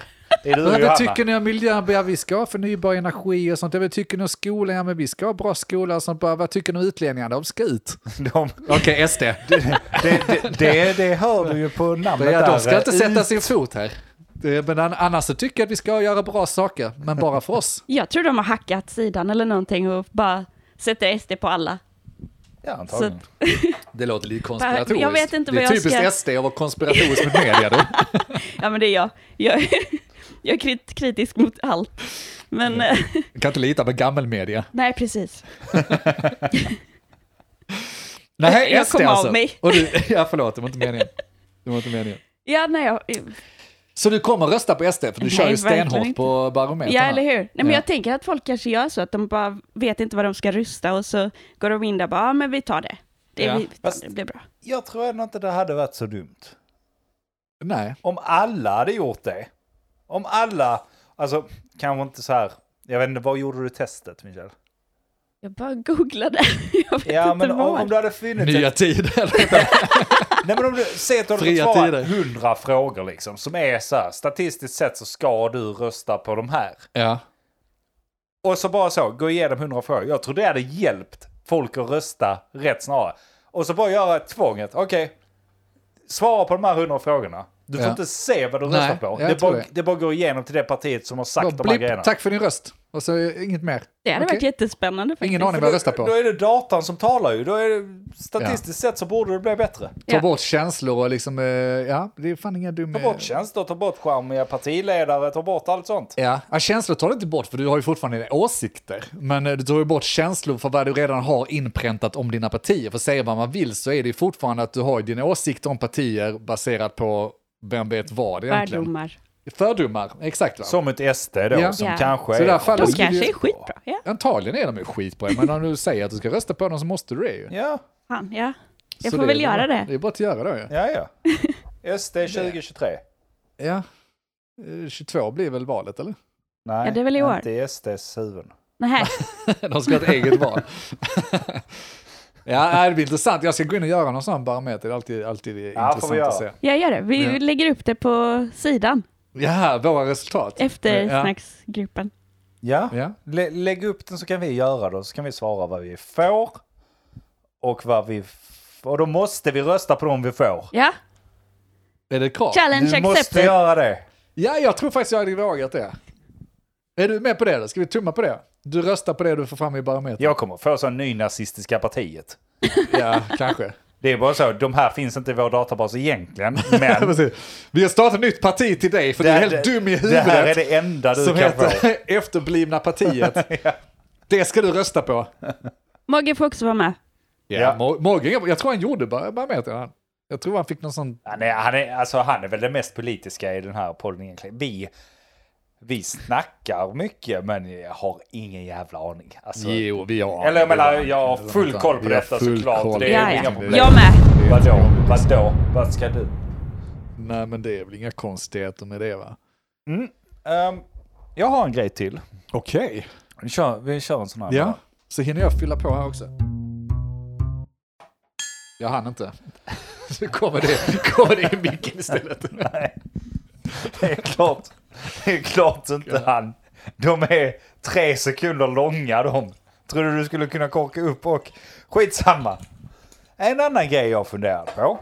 [SPEAKER 1] Det är du och
[SPEAKER 3] Vad
[SPEAKER 1] Johanna.
[SPEAKER 3] tycker ni om miljön? Ja, vi ska ha förnybar energi och sånt. Vad tycker ni om skolan? Ja, men vi ska ha bra skola och sånt. Bara, Vad tycker ni om utlänningar? De ska ut.
[SPEAKER 1] De,
[SPEAKER 3] Okej, SD.
[SPEAKER 1] det, det, det, det hör du ju på namnet
[SPEAKER 3] Ja,
[SPEAKER 1] där. eh,
[SPEAKER 3] de ska inte sätta sin fot här. Det- Men an- annars så tycker jag att vi ska göra bra saker, men bara för oss.
[SPEAKER 4] Jag tror de har hackat sidan eller någonting och bara sätter SD på alla.
[SPEAKER 1] Ja,
[SPEAKER 4] Så
[SPEAKER 1] antagligen.
[SPEAKER 4] att,
[SPEAKER 3] Det låter lite konspiratoriskt.
[SPEAKER 4] konspiratoriskt. Jag vet inte
[SPEAKER 3] det
[SPEAKER 4] vad
[SPEAKER 3] är
[SPEAKER 4] jag
[SPEAKER 3] typiskt
[SPEAKER 4] ska-
[SPEAKER 3] SD att vara konspiratorisk med media. Då.
[SPEAKER 4] ja men det är jag. Jag, jag är krit, kritisk mot allt. Men eh,
[SPEAKER 3] Jag kan inte lita på gammelmedia.
[SPEAKER 4] nej precis.
[SPEAKER 3] Nej,
[SPEAKER 4] Jag
[SPEAKER 3] SD
[SPEAKER 4] kom av
[SPEAKER 3] alltså.
[SPEAKER 4] mig.
[SPEAKER 3] Och du, ja, förlåt, det var inte meningen. Det var inte meningen.
[SPEAKER 4] Ja, nej, jag, eh,
[SPEAKER 3] Så du kommer rösta på SD, för du
[SPEAKER 4] Nej,
[SPEAKER 3] kör ju
[SPEAKER 4] verkligen
[SPEAKER 3] stenhårt
[SPEAKER 4] inte.
[SPEAKER 3] på barometern.
[SPEAKER 4] ja
[SPEAKER 3] här.
[SPEAKER 4] eller hur. Nej, men
[SPEAKER 3] Ja.
[SPEAKER 4] Jag tänker att folk kanske gör så att de bara vet inte vad de ska rösta och så går de in där och bara, ja men vi tar det. Det,
[SPEAKER 3] Ja,
[SPEAKER 4] vi tar,
[SPEAKER 1] fast-
[SPEAKER 4] det blir bra.
[SPEAKER 1] Jag tror ändå inte det hade varit så dumt.
[SPEAKER 3] Nej.
[SPEAKER 1] Om alla hade gjort det. Om alla, alltså kanske inte så här. Jag vet inte, var gjorde du testet Michel?
[SPEAKER 4] Jag bara googlade. Jag vet
[SPEAKER 1] Ja,
[SPEAKER 4] inte
[SPEAKER 1] men om,
[SPEAKER 4] vad.
[SPEAKER 1] om du hade funnits ett
[SPEAKER 3] Nya tider.
[SPEAKER 1] Nej men om du, säg att du hade
[SPEAKER 3] Fria
[SPEAKER 1] fått svara
[SPEAKER 3] tider.
[SPEAKER 1] 100 frågor liksom, som är så här, statistiskt sett så ska du rösta på de här.
[SPEAKER 3] ja.
[SPEAKER 1] Och så bara så, gå igenom 100 frågor. Jag tror det hade hjälpt folk att rösta rätt snarare. Och så bara göra tvånget, okej, svara på de här hundra frågorna. Du får
[SPEAKER 3] Ja.
[SPEAKER 1] inte se vad du
[SPEAKER 3] Nej,
[SPEAKER 1] röstar på.
[SPEAKER 3] jag
[SPEAKER 1] Det
[SPEAKER 3] tror
[SPEAKER 1] bara,
[SPEAKER 3] det.
[SPEAKER 1] det. bara går igenom till det partiet som har sagt de här
[SPEAKER 3] Blipp,
[SPEAKER 1] grejerna.
[SPEAKER 3] tack för din röst. Och så eh, inget mer.
[SPEAKER 4] Det hade
[SPEAKER 3] Okej.
[SPEAKER 4] varit jättespännande faktiskt.
[SPEAKER 3] Ingen aning vad jag röstar
[SPEAKER 1] Då
[SPEAKER 3] på.
[SPEAKER 1] är det datan som talar ju. Då är det, statistiskt sett så borde det bli bättre.
[SPEAKER 3] Ta
[SPEAKER 4] Ja.
[SPEAKER 3] bort känslor och liksom, eh, ja, det är fan inga dumma...
[SPEAKER 1] Ta bort tjänster, ta bort charmiga partiledare, ta bort allt sånt.
[SPEAKER 3] Ja. ja, känslor tar du inte bort för du har ju fortfarande dina åsikter. Men eh, du tar ju bort känslor för vad du redan har inpräntat om dina partier. För säga vad man vill så är det ju fortfarande att du har ju dina åsikter om partier baserat på vem vet vad egentligen.
[SPEAKER 4] Fördomar.
[SPEAKER 3] Fördomar, exakt va?
[SPEAKER 1] Som ett SD då,
[SPEAKER 3] Ja.
[SPEAKER 1] som
[SPEAKER 4] Ja.
[SPEAKER 1] kanske
[SPEAKER 3] Så i det här fallet-
[SPEAKER 4] De
[SPEAKER 3] Alltså, det är
[SPEAKER 4] kanske
[SPEAKER 3] ju-
[SPEAKER 4] är skitbra. Ja,
[SPEAKER 3] Antagligen är de ju skitbra, men om du säger att du ska rösta på dem så måste du det ju.
[SPEAKER 1] Ja,
[SPEAKER 4] fan ja. Jag
[SPEAKER 3] Så
[SPEAKER 4] får
[SPEAKER 3] är
[SPEAKER 4] väl
[SPEAKER 3] ju
[SPEAKER 4] göra
[SPEAKER 3] bara-
[SPEAKER 4] det.
[SPEAKER 3] Det är bara att göra då ju.
[SPEAKER 1] ja, ja. SD 2023.
[SPEAKER 3] Ja. Eh, 22 blir väl valet eller?
[SPEAKER 1] Nej,
[SPEAKER 4] Ja, det är väl i år.
[SPEAKER 1] inte i SDs huvud.
[SPEAKER 4] Nej,
[SPEAKER 3] De ska ha ett eget val. ja, nej, det blir intressant. Jag ska gå in och göra någon sån barometer. Det är alltid, alltid
[SPEAKER 1] får vi
[SPEAKER 3] intressant
[SPEAKER 1] göra.
[SPEAKER 3] att se.
[SPEAKER 4] jag gör det. Vi
[SPEAKER 3] Ja.
[SPEAKER 4] lägger upp det på sidan
[SPEAKER 3] Ja, våra resultat.
[SPEAKER 4] efter
[SPEAKER 3] Ja.
[SPEAKER 4] snacksgruppen.
[SPEAKER 1] Ja,
[SPEAKER 3] Ja.
[SPEAKER 1] Lä- lägg upp den så kan vi göra det. Så kan vi svara vad vi får. Och vad vi... f- Och då måste vi rösta på dem vi får.
[SPEAKER 4] Ja,
[SPEAKER 3] Är det ett krav?
[SPEAKER 4] challenge
[SPEAKER 1] Du måste
[SPEAKER 4] accepted.
[SPEAKER 1] göra det.
[SPEAKER 3] Ja, jag tror faktiskt jag hade vågat det. Är du med på det? Då? Ska vi tumma på det? Du röstar på det du får fram i barometern?
[SPEAKER 1] Jag kommer få så nynazistiska partiet.
[SPEAKER 3] Ja, kanske.
[SPEAKER 1] Det är bara så, de här finns inte i vår databas egentligen,
[SPEAKER 3] Ja,
[SPEAKER 1] men
[SPEAKER 3] precis. Vi har startat ett nytt parti till dig för du är helt dum i
[SPEAKER 1] Det här är
[SPEAKER 3] huvudet.
[SPEAKER 1] det enda du
[SPEAKER 3] Som
[SPEAKER 1] kan få.
[SPEAKER 3] heter Efterblivna partiet. Det ska du rösta på.
[SPEAKER 4] Mogge får också vara med.
[SPEAKER 1] Ja.
[SPEAKER 3] Ja. Mo- Morgan, jag, jag tror han gjorde bara, bara med han. Jag tror han fick någon sån...
[SPEAKER 1] Han är, han, är, alltså, han är väl det mest politiska i den här podden egentligen. Vi, vi snackar mycket, men jag har ingen jävla aning. Alltså,
[SPEAKER 3] vi har...
[SPEAKER 1] Eller jag menar, jag har full koll på
[SPEAKER 3] Vi har
[SPEAKER 1] detta
[SPEAKER 3] full
[SPEAKER 1] såklart.
[SPEAKER 3] koll.
[SPEAKER 1] Det är
[SPEAKER 4] Ja,
[SPEAKER 1] inga
[SPEAKER 4] ja.
[SPEAKER 1] problem.
[SPEAKER 4] Jag med.
[SPEAKER 1] Vadå? Vadå? Vad ska du?
[SPEAKER 3] Nej, men det är väl inga konstigheter med det va?
[SPEAKER 1] Ehm, jag har en grej till.
[SPEAKER 3] Okej.
[SPEAKER 1] Vi kör, vi kör en sån här.
[SPEAKER 3] Ja, så hinner jag fylla på här också. Jag hann inte. Så kommer det, kommer det i micken istället.
[SPEAKER 1] Nej. Det är klart. Det är klart inte han. De är tre sekunder långa de. Tror du du skulle kunna korka upp och... Skitsamma. En annan grej jag funderar på.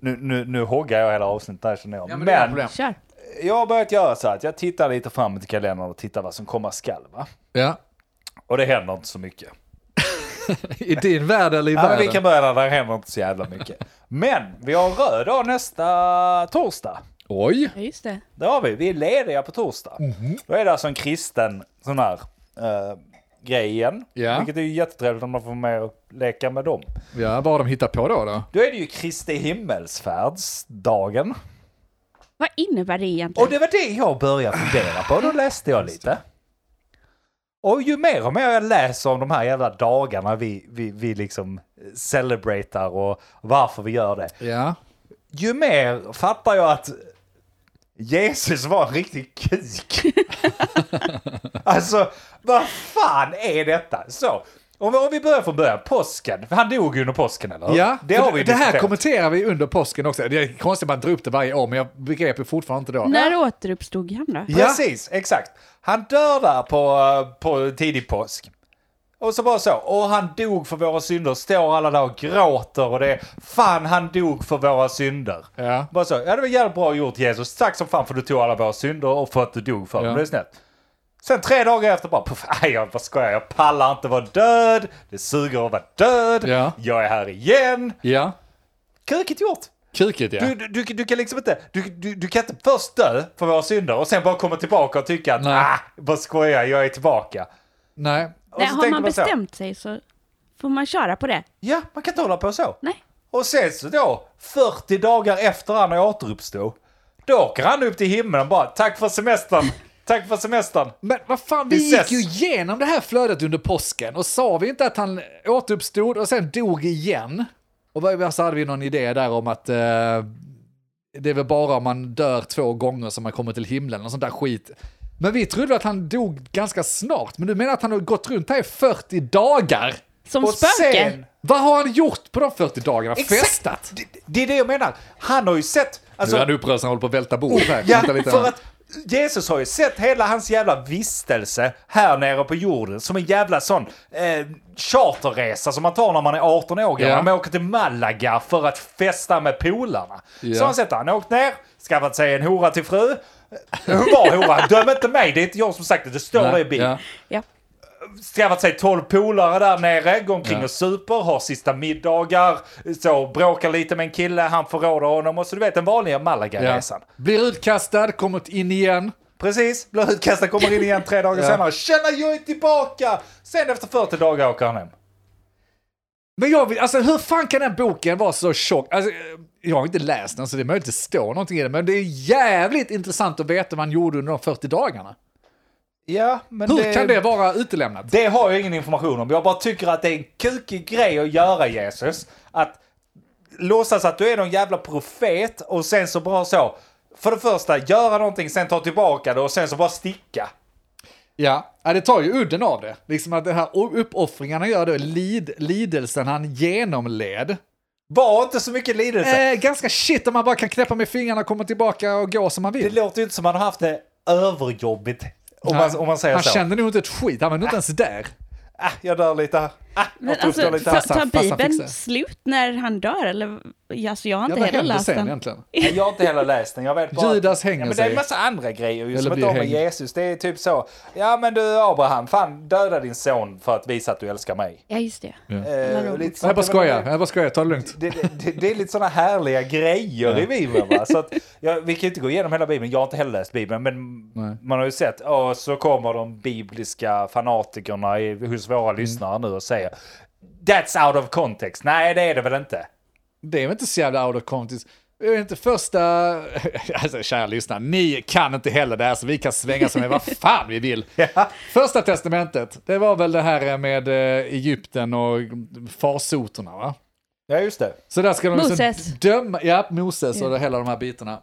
[SPEAKER 1] Nu, nu, nu hoggar jag hela avsnittet här känner jag.
[SPEAKER 3] Ja, men det är inga
[SPEAKER 1] men
[SPEAKER 3] problem.
[SPEAKER 4] Kör.
[SPEAKER 1] jag har börjat göra så här att jag tittar lite framåt i kalendern och tittar vad som komma skall. Va?
[SPEAKER 3] Ja.
[SPEAKER 1] Och det händer inte så mycket.
[SPEAKER 3] I din värld eller i
[SPEAKER 1] Ja, men vi
[SPEAKER 3] världen?
[SPEAKER 1] kan börja där, det händer inte så jävla mycket. Men vi har en röd dag nästa torsdag.
[SPEAKER 3] Oj!
[SPEAKER 4] Ja, just det.
[SPEAKER 1] Det har vi. Vi är lediga på torsdag. Då är det alltså en kristen sån här eh, grej igen.
[SPEAKER 3] Ja.
[SPEAKER 1] Vilket är ju jättetrevligt om man får vara med och leka med dem.
[SPEAKER 3] Ja, vad har de hittat på då? då?
[SPEAKER 1] Då är det ju Kristi himmelsfärdsdagen.
[SPEAKER 4] Vad innebär det egentligen?
[SPEAKER 1] Och det var det jag började fundera på. Då läste jag lite. Och ju mer och mer jag läser om de här jävla dagarna vi, vi, vi liksom eh, celebratar och varför vi gör det.
[SPEAKER 3] Ja.
[SPEAKER 1] ju mer fattar jag att Jesus var en riktig kuk. alltså, vad fan är detta? Så, om, om vi börjar från början, påsken. Han dog ju under påsken, eller hur?
[SPEAKER 3] Ja,
[SPEAKER 1] det har vi
[SPEAKER 3] det här
[SPEAKER 1] diskuterat.
[SPEAKER 3] kommenterar vi under påsken också. Det är konstigt att man drar upp det varje år, men jag begrep ju fortfarande inte då.
[SPEAKER 4] När återuppstod han då?
[SPEAKER 3] Ja.
[SPEAKER 1] Precis, exakt. Han dör där på, eh, på tidig påsk. Och så bara så, och han dog för våra synder, står alla där och gråter och det är fan han dog för våra synder.
[SPEAKER 3] Ja.
[SPEAKER 1] Bara så, ja det var jävligt bra gjort Jesus, tack som fan för du tog alla våra synder och för att du dog för dem,
[SPEAKER 3] Ja.
[SPEAKER 1] det är snällt. Sen tre dagar efter bara, puff, nej jag bara skojar, jag pallar inte vara död, det suger att vara död,
[SPEAKER 3] Ja.
[SPEAKER 1] jag är här igen.
[SPEAKER 3] Ja.
[SPEAKER 1] Kukigt gjort!
[SPEAKER 3] Kukigt ja.
[SPEAKER 1] Du, du, du, du kan liksom inte, du, du, du kan inte först dö för våra synder och sen bara komma tillbaka och tycka att
[SPEAKER 3] Nej.
[SPEAKER 1] ah, bara skoja, jag är tillbaka.
[SPEAKER 3] Nej.
[SPEAKER 1] Och
[SPEAKER 4] Nej,
[SPEAKER 1] så
[SPEAKER 4] har
[SPEAKER 1] tänker
[SPEAKER 4] man
[SPEAKER 1] så här,
[SPEAKER 4] bestämt sig så får man köra på det.
[SPEAKER 1] Ja, man kan inte hålla på så.
[SPEAKER 4] Nej.
[SPEAKER 1] Och sen så då, 40 dagar efter han återuppstod, då åker han upp till himlen och bara tack för semestern, tack för semestern.
[SPEAKER 3] Men vad fan,
[SPEAKER 1] Vi
[SPEAKER 3] vi
[SPEAKER 1] ses.
[SPEAKER 3] gick ju igenom det här flödet under påsken och sa vi inte att han återuppstod och sen dog igen? Och vad- vad- så hade vi någon idé där om att eh, det är väl bara om man dör två gånger som man kommer till himlen och sånt där skit. Men vi trodde att han dog ganska snart, men du menar att han har gått runt här i 40 dagar?
[SPEAKER 4] Som
[SPEAKER 1] Och
[SPEAKER 4] spöke.
[SPEAKER 1] sen,
[SPEAKER 3] Vad har han gjort på de 40 dagarna?
[SPEAKER 1] Exakt.
[SPEAKER 3] Festat?
[SPEAKER 1] det, det är det jag menar, han har ju sett,
[SPEAKER 3] nu är
[SPEAKER 1] alltså,
[SPEAKER 3] han upprörd så han håller på att välta bord här.
[SPEAKER 1] ja,
[SPEAKER 3] Vänta lite
[SPEAKER 1] för
[SPEAKER 3] här.
[SPEAKER 1] att Jesus har ju sett hela hans jävla vistelse här nere på jorden som en jävla sån eh, charterresa som man tar när man är 18 år gammal.
[SPEAKER 3] Ja.
[SPEAKER 1] Man åker till Malaga för att festa med polarna.
[SPEAKER 3] Ja.
[SPEAKER 1] Så har han sett det. Han har åkt ner, skaffat sig en hora till fru. Hur var horan? Döm inte mig, det är inte jag som sagt det. Det står det i bild.
[SPEAKER 3] Ja.
[SPEAKER 4] Ja.
[SPEAKER 1] Skaffat sig 12 polare där nere, går omkring
[SPEAKER 3] Ja.
[SPEAKER 1] och super, har sista middagar, så bråkar lite med en kille, han förråder honom och så du vet den vanliga
[SPEAKER 3] Ja.
[SPEAKER 1] Malaga-resan.
[SPEAKER 3] Blir utkastad, kommer in igen.
[SPEAKER 1] Precis, blir utkastad, kommer in igen tre dagar
[SPEAKER 3] Ja.
[SPEAKER 1] senare. Tjena, jag är tillbaka! Sen efter 40 dagar åker han hem.
[SPEAKER 3] Men jag vill, alltså hur fan kan den boken vara så tjock? Alltså, eh, jag har inte läst den så det är möjligt att det står någonting i den, men det är jävligt intressant att veta vad man gjorde under de 40 dagarna.
[SPEAKER 1] Ja, men
[SPEAKER 3] Hur kan det vara utelämnat?
[SPEAKER 1] Det har jag ingen information om. Jag bara tycker att det är en kukig grej att göra, Jesus. Att låtsas att du är någon jävla profet och sen så bara så. För det första, göra någonting, sen ta tillbaka det och sen så bara sticka.
[SPEAKER 3] Ja. ja, det tar ju udden av det. Liksom att det här o- uppoffringarna gör det, lid, lidelsen han genomled.
[SPEAKER 1] Var inte så mycket lidelse.
[SPEAKER 3] Eh, ganska shit om man bara kan knäppa med fingrarna och komma tillbaka och gå som man
[SPEAKER 1] Det
[SPEAKER 3] vill.
[SPEAKER 1] låter ju inte som att han har haft det överjobbigt. Om man, om man säger
[SPEAKER 3] han
[SPEAKER 1] så.
[SPEAKER 3] kände nog inte ett skit, han var nog inte ens där.
[SPEAKER 1] Ah, jag dör lite här. Ah,
[SPEAKER 4] Men
[SPEAKER 1] jag alltså,
[SPEAKER 4] alltså,
[SPEAKER 1] lite
[SPEAKER 4] ta,
[SPEAKER 1] här.
[SPEAKER 3] fast
[SPEAKER 4] tar
[SPEAKER 3] han- fast han
[SPEAKER 4] Bibeln
[SPEAKER 3] fixar.
[SPEAKER 4] slut när han dör? Eller? Ja, Alltså, jag har
[SPEAKER 3] Ja,
[SPEAKER 4] inte
[SPEAKER 3] vad
[SPEAKER 4] heller
[SPEAKER 3] hände
[SPEAKER 4] läst
[SPEAKER 3] sen
[SPEAKER 4] den.
[SPEAKER 3] egentligen?
[SPEAKER 1] Nej, jag har inte heller läst den. Jag vet bara att-
[SPEAKER 3] Judas hänger
[SPEAKER 1] ja, men Det är en
[SPEAKER 3] sig.
[SPEAKER 1] massa andra grejer ju, som
[SPEAKER 3] Eller
[SPEAKER 1] inte har
[SPEAKER 3] blir
[SPEAKER 1] med
[SPEAKER 3] hängd.
[SPEAKER 1] Jesus. Det är typ så. Ja men du Abraham, fan döda din son för att visa att du älskar mig.
[SPEAKER 4] Ja, just det.
[SPEAKER 1] Eh, och lite sånt.
[SPEAKER 3] Jag bara skojar,
[SPEAKER 1] Det-
[SPEAKER 3] jag bara skojar, ta det lugnt.
[SPEAKER 1] Det, det, det är lite sådana härliga grejer i Bibeln. Va? Så att, ja, vi kan ju inte gå igenom hela Bibeln, jag har inte heller läst Bibeln, men
[SPEAKER 3] Nej.
[SPEAKER 1] man har ju sett, ja, så kommer de bibliska fanatikerna i, hos våra
[SPEAKER 3] Mm.
[SPEAKER 1] lyssnare nu och säger That's out of context. Nej, det är det väl inte.
[SPEAKER 3] Det är väl inte så jävla out of context. Det är inte första... Alltså kära lyssnare, ni kan inte heller det här så vi kan svänga som vad fan vi vill. Första testamentet, det var väl det här med eh, Egypten och farsoterna va?
[SPEAKER 1] Ja, just det.
[SPEAKER 3] Så där ska de liksom
[SPEAKER 4] Moses.
[SPEAKER 3] döma, ja Moses och hela de här bitarna.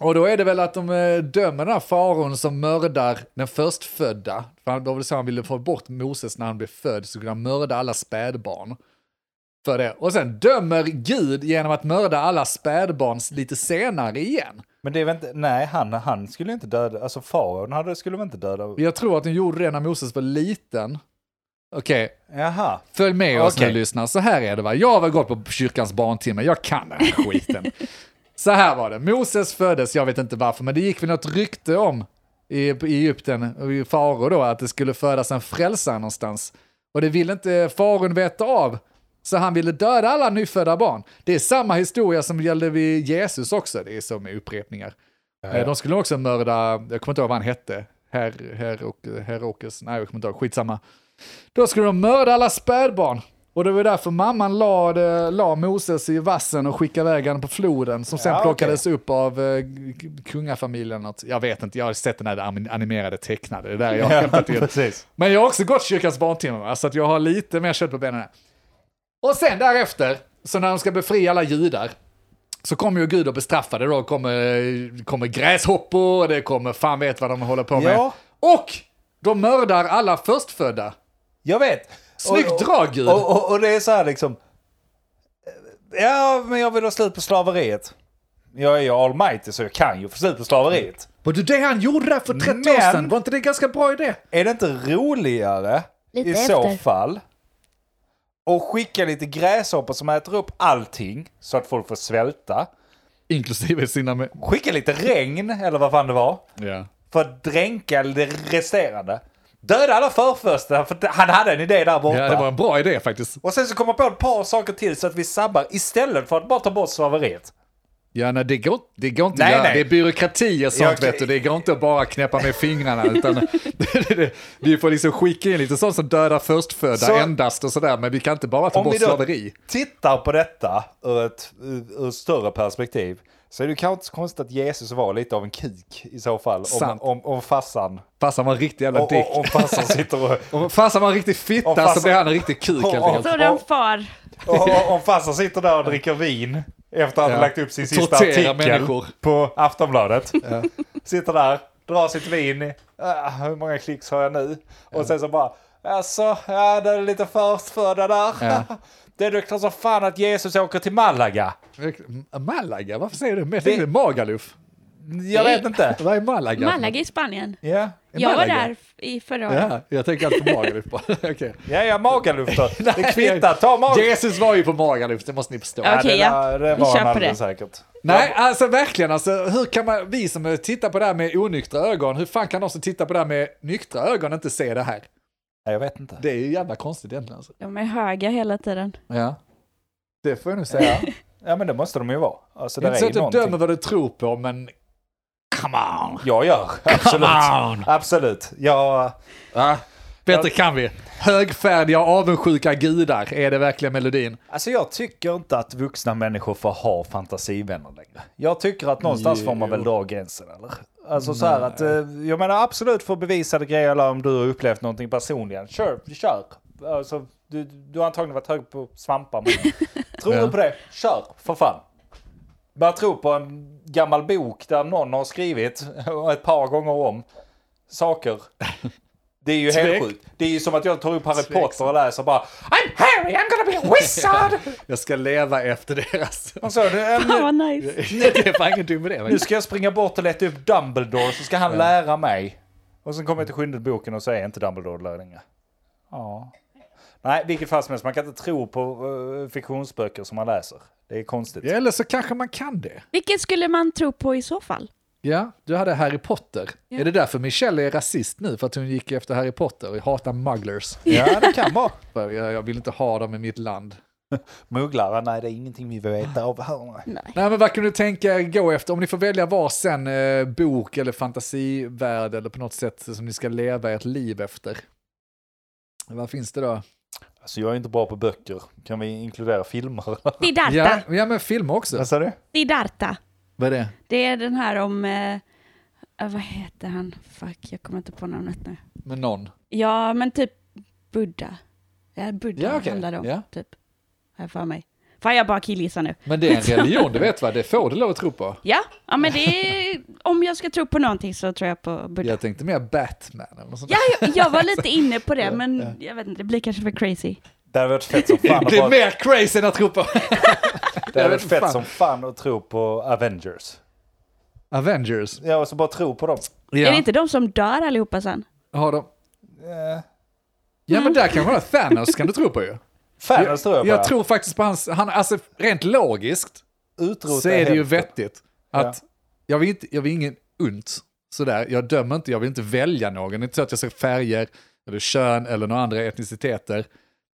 [SPEAKER 3] Och då är det väl att de eh, dömer den här faron som mördar den förstfödda. För han- då vill säga han ville få bort Moses när han blev född så kunde han mörda alla spädbarn. För det. Och sen dömer Gud genom att mörda alla spädbarn lite senare igen.
[SPEAKER 1] Men det är väl inte, nej han, han skulle inte döda, alltså faraon hade- skulle väl inte döda?
[SPEAKER 3] Jag tror att de gjorde det när Moses var liten. Okej,
[SPEAKER 1] Jaha.
[SPEAKER 3] Följ med oss
[SPEAKER 1] Okej.
[SPEAKER 3] nu lyssnare, så här är det va. Jag har gått på kyrkans barntimme, jag kan den här skiten. så här var det, Moses föddes, jag vet inte varför, men det gick väl något rykte om i i Egypten, och i farao då, att det skulle födas en frälsare någonstans. Och det ville inte faron veta av, så han ville döda alla nyfödda barn. Det är samma historia som gällde vid Jesus också, det är som upprepningar. Eh, De skulle också mörda, jag kommer inte ihåg vad han hette, Her- Herok- Herokes, nej jag kommer inte ihåg, skitsamma. Då skulle de mörda alla spädbarn. Och det var därför mamman la, la Moses i vassen och skickade iväg honom på floden som sen
[SPEAKER 1] Ja,
[SPEAKER 3] plockades upp av eh, k- kungafamiljen. eller Något. Jag vet inte, jag har sett den här anim- animerade tecknade, det är där jag har hämtat in.
[SPEAKER 1] Precis.
[SPEAKER 3] Men jag har också gått kyrkans barntimme, va, så att jag har lite mer kött på benen. här. Och sen därefter, så när de ska befria alla judar, så kommer ju Gud och bestraffar det då. Kommer, kommer gräshoppor, det kommer fan vet vad de håller på med.
[SPEAKER 1] Ja.
[SPEAKER 3] Och de mördar alla förstfödda.
[SPEAKER 1] Jag vet.
[SPEAKER 3] Snyggt
[SPEAKER 1] Och- och-
[SPEAKER 3] drag, Gud!
[SPEAKER 1] Och, och, och det är så här liksom. Ja, men jag vill ha slut på slaveriet. Jag är ju almighty så jag kan ju få slut på slaveriet.
[SPEAKER 3] Var det det han gjorde där för 30 år
[SPEAKER 1] Men-
[SPEAKER 3] sedan? Var inte det en ganska bra idé?
[SPEAKER 1] Är det inte roligare
[SPEAKER 4] Lite
[SPEAKER 1] i så
[SPEAKER 4] efter.
[SPEAKER 1] fall och skicka lite gräshoppor som äter upp allting så att folk får svälta.
[SPEAKER 3] Inklusive sina... Med...
[SPEAKER 1] Skicka lite regn eller vad fan det var
[SPEAKER 3] Ja.
[SPEAKER 1] för att dränka det resterande. Döda alla förförsta för han hade en idé där borta.
[SPEAKER 3] ja, det var en bra idé faktiskt.
[SPEAKER 1] Och sen så kommer jag på ett par saker till så att vi sabbar istället för att bara ta bort slaveriet.
[SPEAKER 3] Ja, nej, det, går, det går inte
[SPEAKER 1] Nej,
[SPEAKER 3] att göra.
[SPEAKER 1] nej.
[SPEAKER 3] Det är byråkrati och sånt,
[SPEAKER 1] Jag-
[SPEAKER 3] vet du. Det går inte att bara knäppa med fingrarna. Utan det, det, det, vi får liksom skicka in lite sånt som dödar förstfödda
[SPEAKER 1] Så-
[SPEAKER 3] endast och sådär. Men vi kan inte bara ta
[SPEAKER 1] Om
[SPEAKER 3] bort
[SPEAKER 1] vi då
[SPEAKER 3] slaveri.
[SPEAKER 1] tittar på detta ur ett ur, ur större perspektiv så är det kanske inte så konstigt att Jesus var lite av en kuk i så fall. Om,
[SPEAKER 3] Sant.
[SPEAKER 1] om, om farsan.
[SPEAKER 3] Farsan var en riktig jävla
[SPEAKER 1] Om,
[SPEAKER 3] dick.
[SPEAKER 1] om farsan sitter och...
[SPEAKER 3] Om farsan var en riktig fitta
[SPEAKER 1] Om farsan-
[SPEAKER 3] så blev han en riktig kuk
[SPEAKER 1] Om-
[SPEAKER 3] helt enkelt.
[SPEAKER 4] Sådan far.
[SPEAKER 1] och- och- Om farsan sitter där och dricker vin efter att
[SPEAKER 3] Ja.
[SPEAKER 1] han lagt upp sin sista
[SPEAKER 3] Tortera
[SPEAKER 1] artikel
[SPEAKER 3] människor.
[SPEAKER 1] på Aftonbladet. Sitter där, drar sitt vin. Ah, hur många klicks har jag nu? Och sen så bara, alltså, ja, det är lite förstfödda där.
[SPEAKER 3] Ja.
[SPEAKER 1] Det är klart som fan att Jesus åker till Malaga.
[SPEAKER 3] Malaga, Mm, varför säger du? Men Jag tänkte
[SPEAKER 1] Det-
[SPEAKER 3] Magaluf.
[SPEAKER 1] Jag vet inte.
[SPEAKER 3] Vad är Malaga?
[SPEAKER 4] Malaga i Spanien.
[SPEAKER 1] Ja,
[SPEAKER 4] Jag var
[SPEAKER 3] Malaga.
[SPEAKER 4] där f- i förra året.
[SPEAKER 3] Ja, jag tänker alltid på Magaluf bara. Okej.
[SPEAKER 1] ja, ja magalufter. Det kvittar, ta magalufter.
[SPEAKER 3] Jesus var ju på Magaluf, det måste ni förstå.
[SPEAKER 4] Ja. Okej,
[SPEAKER 1] det, där- det
[SPEAKER 4] Vi
[SPEAKER 1] var han
[SPEAKER 4] köper
[SPEAKER 1] alldeles
[SPEAKER 4] det.
[SPEAKER 1] säkert.
[SPEAKER 3] Nej, alltså verkligen. Alltså, hur kan man, vi som tittar på det här med onyktra ögon, hur fan kan de som tittar på det här med nyktra ögon inte se det här?
[SPEAKER 1] Nej, jag vet inte.
[SPEAKER 3] Det är ju jävla konstigt egentligen. Alltså.
[SPEAKER 4] De är höga hela tiden.
[SPEAKER 3] Ja. Det får jag nog säga.
[SPEAKER 1] Ja, men det måste de ju vara. Alltså, det
[SPEAKER 3] Det är inte så
[SPEAKER 1] är
[SPEAKER 3] att
[SPEAKER 1] ju
[SPEAKER 3] jag
[SPEAKER 1] någonting.
[SPEAKER 3] dömer vad du tror på, men come on.
[SPEAKER 1] Jag gör, absolut.
[SPEAKER 3] on!
[SPEAKER 1] Absolut. Jag,
[SPEAKER 3] Ja, bättre kan vi. Högfärdiga och avundsjuka gudar är det verkligen melodin.
[SPEAKER 1] alltså jag tycker inte att vuxna människor får ha fantasivänner längre. Jag tycker att någonstans får man väl dra gränsen, eller? Alltså så här att, eh, jag menar absolut för bevisade grejer eller om du har upplevt någonting personligen. Kör, kör. Alltså, du, du har antagligen varit hög på svampar, men tror
[SPEAKER 3] Ja.
[SPEAKER 1] du på det, kör för fan. Bara tro på en gammal bok där någon har skrivit ett par gånger om saker. Det är ju
[SPEAKER 3] Tvek-
[SPEAKER 1] helt sjukt. Det är ju som att jag tar upp Harry
[SPEAKER 3] Tveksamt.
[SPEAKER 1] Potter och läser bara I'm Harry, I'm gonna be a wizard!
[SPEAKER 3] Jag ska leva efter deras...
[SPEAKER 1] Och så, "Eh,
[SPEAKER 4] Fan
[SPEAKER 1] nu,
[SPEAKER 4] vad nice.
[SPEAKER 3] det är fan ingen dum idé.
[SPEAKER 1] nu ska jag springa bort och leta upp Dumbledore så ska han lära mig. Och sen kommer jag till sjunde boken och så är inte Dumbledore där längre. Ja. Nej, vilket fall som helst, man kan inte tro på eh, fiktionsböcker som man läser. Det är konstigt.
[SPEAKER 3] Eller så kanske man kan det.
[SPEAKER 4] Vilket skulle man tro på i så fall?
[SPEAKER 3] Ja, du hade Harry Potter. Är det därför Michelle är rasist nu? För att hon gick efter Harry Potter och hatar mugglers.
[SPEAKER 1] Ja, det kan vara.
[SPEAKER 3] För Jag, jag vill inte ha dem i mitt land.
[SPEAKER 1] Mugglare, nej det är ingenting vi vill veta av här. nej.
[SPEAKER 3] Nej, men vad kan du tänka er gå efter? Om ni får välja var sen eh, bok eller fantasivärld eller på något sätt som ni ska leva ert liv efter. Vad finns det då?
[SPEAKER 1] Alltså jag är inte bra på böcker. Kan vi inkludera filmer?
[SPEAKER 4] Siddhartha.
[SPEAKER 3] Ja, ja, men filmer också.
[SPEAKER 1] Vad sa du?
[SPEAKER 4] Siddhartha.
[SPEAKER 3] Vad är det?
[SPEAKER 4] Det är den här om... Eh, eh, vad heter han? Fuck, jag kommer inte på namnet nu.
[SPEAKER 3] Med någon?
[SPEAKER 4] Ja, men typ Buddha. Ja, Buddha
[SPEAKER 3] Ja, okej.
[SPEAKER 4] handlar det om,
[SPEAKER 3] Ja.
[SPEAKER 4] typ. Här för mig. Fan, jag bara killgissar nu.
[SPEAKER 3] Men det är en religion, du vet vad? Det får du lov att tro på.
[SPEAKER 4] Ja, ja men det är, om jag ska tro på någonting så tror jag på Buddha.
[SPEAKER 3] Jag tänkte mer Batman eller något sånt
[SPEAKER 4] Ja,
[SPEAKER 3] där.
[SPEAKER 4] jag, jag var lite inne på det, men jag vet inte, det blir kanske för crazy.
[SPEAKER 1] Det hade varit fett som fan
[SPEAKER 3] Det
[SPEAKER 1] att,
[SPEAKER 3] blir
[SPEAKER 1] bara,
[SPEAKER 3] mer crazy än att tro på
[SPEAKER 1] det hade varit
[SPEAKER 3] vet fan.
[SPEAKER 1] fett som fan att tro på Avengers.
[SPEAKER 3] Avengers.
[SPEAKER 1] Ja, och så bara tro på dem.
[SPEAKER 3] Ja.
[SPEAKER 4] Är det inte de som dör allihopa sen?
[SPEAKER 3] Har de...
[SPEAKER 1] Eh,
[SPEAKER 3] Ja men där kanske man har Thanos kan du tro på ju.
[SPEAKER 1] Mm. Thanos tror jag på.
[SPEAKER 3] jag tror faktiskt på hans, han, alltså rent logiskt
[SPEAKER 1] Utrota
[SPEAKER 3] så är det ju
[SPEAKER 1] hälften.
[SPEAKER 3] vettigt att jag, vill inte, jag vill ingen ont sådär, jag dömer inte, jag vill inte välja någon, det är inte så att jag ser färger eller kön eller några andra etniciteter.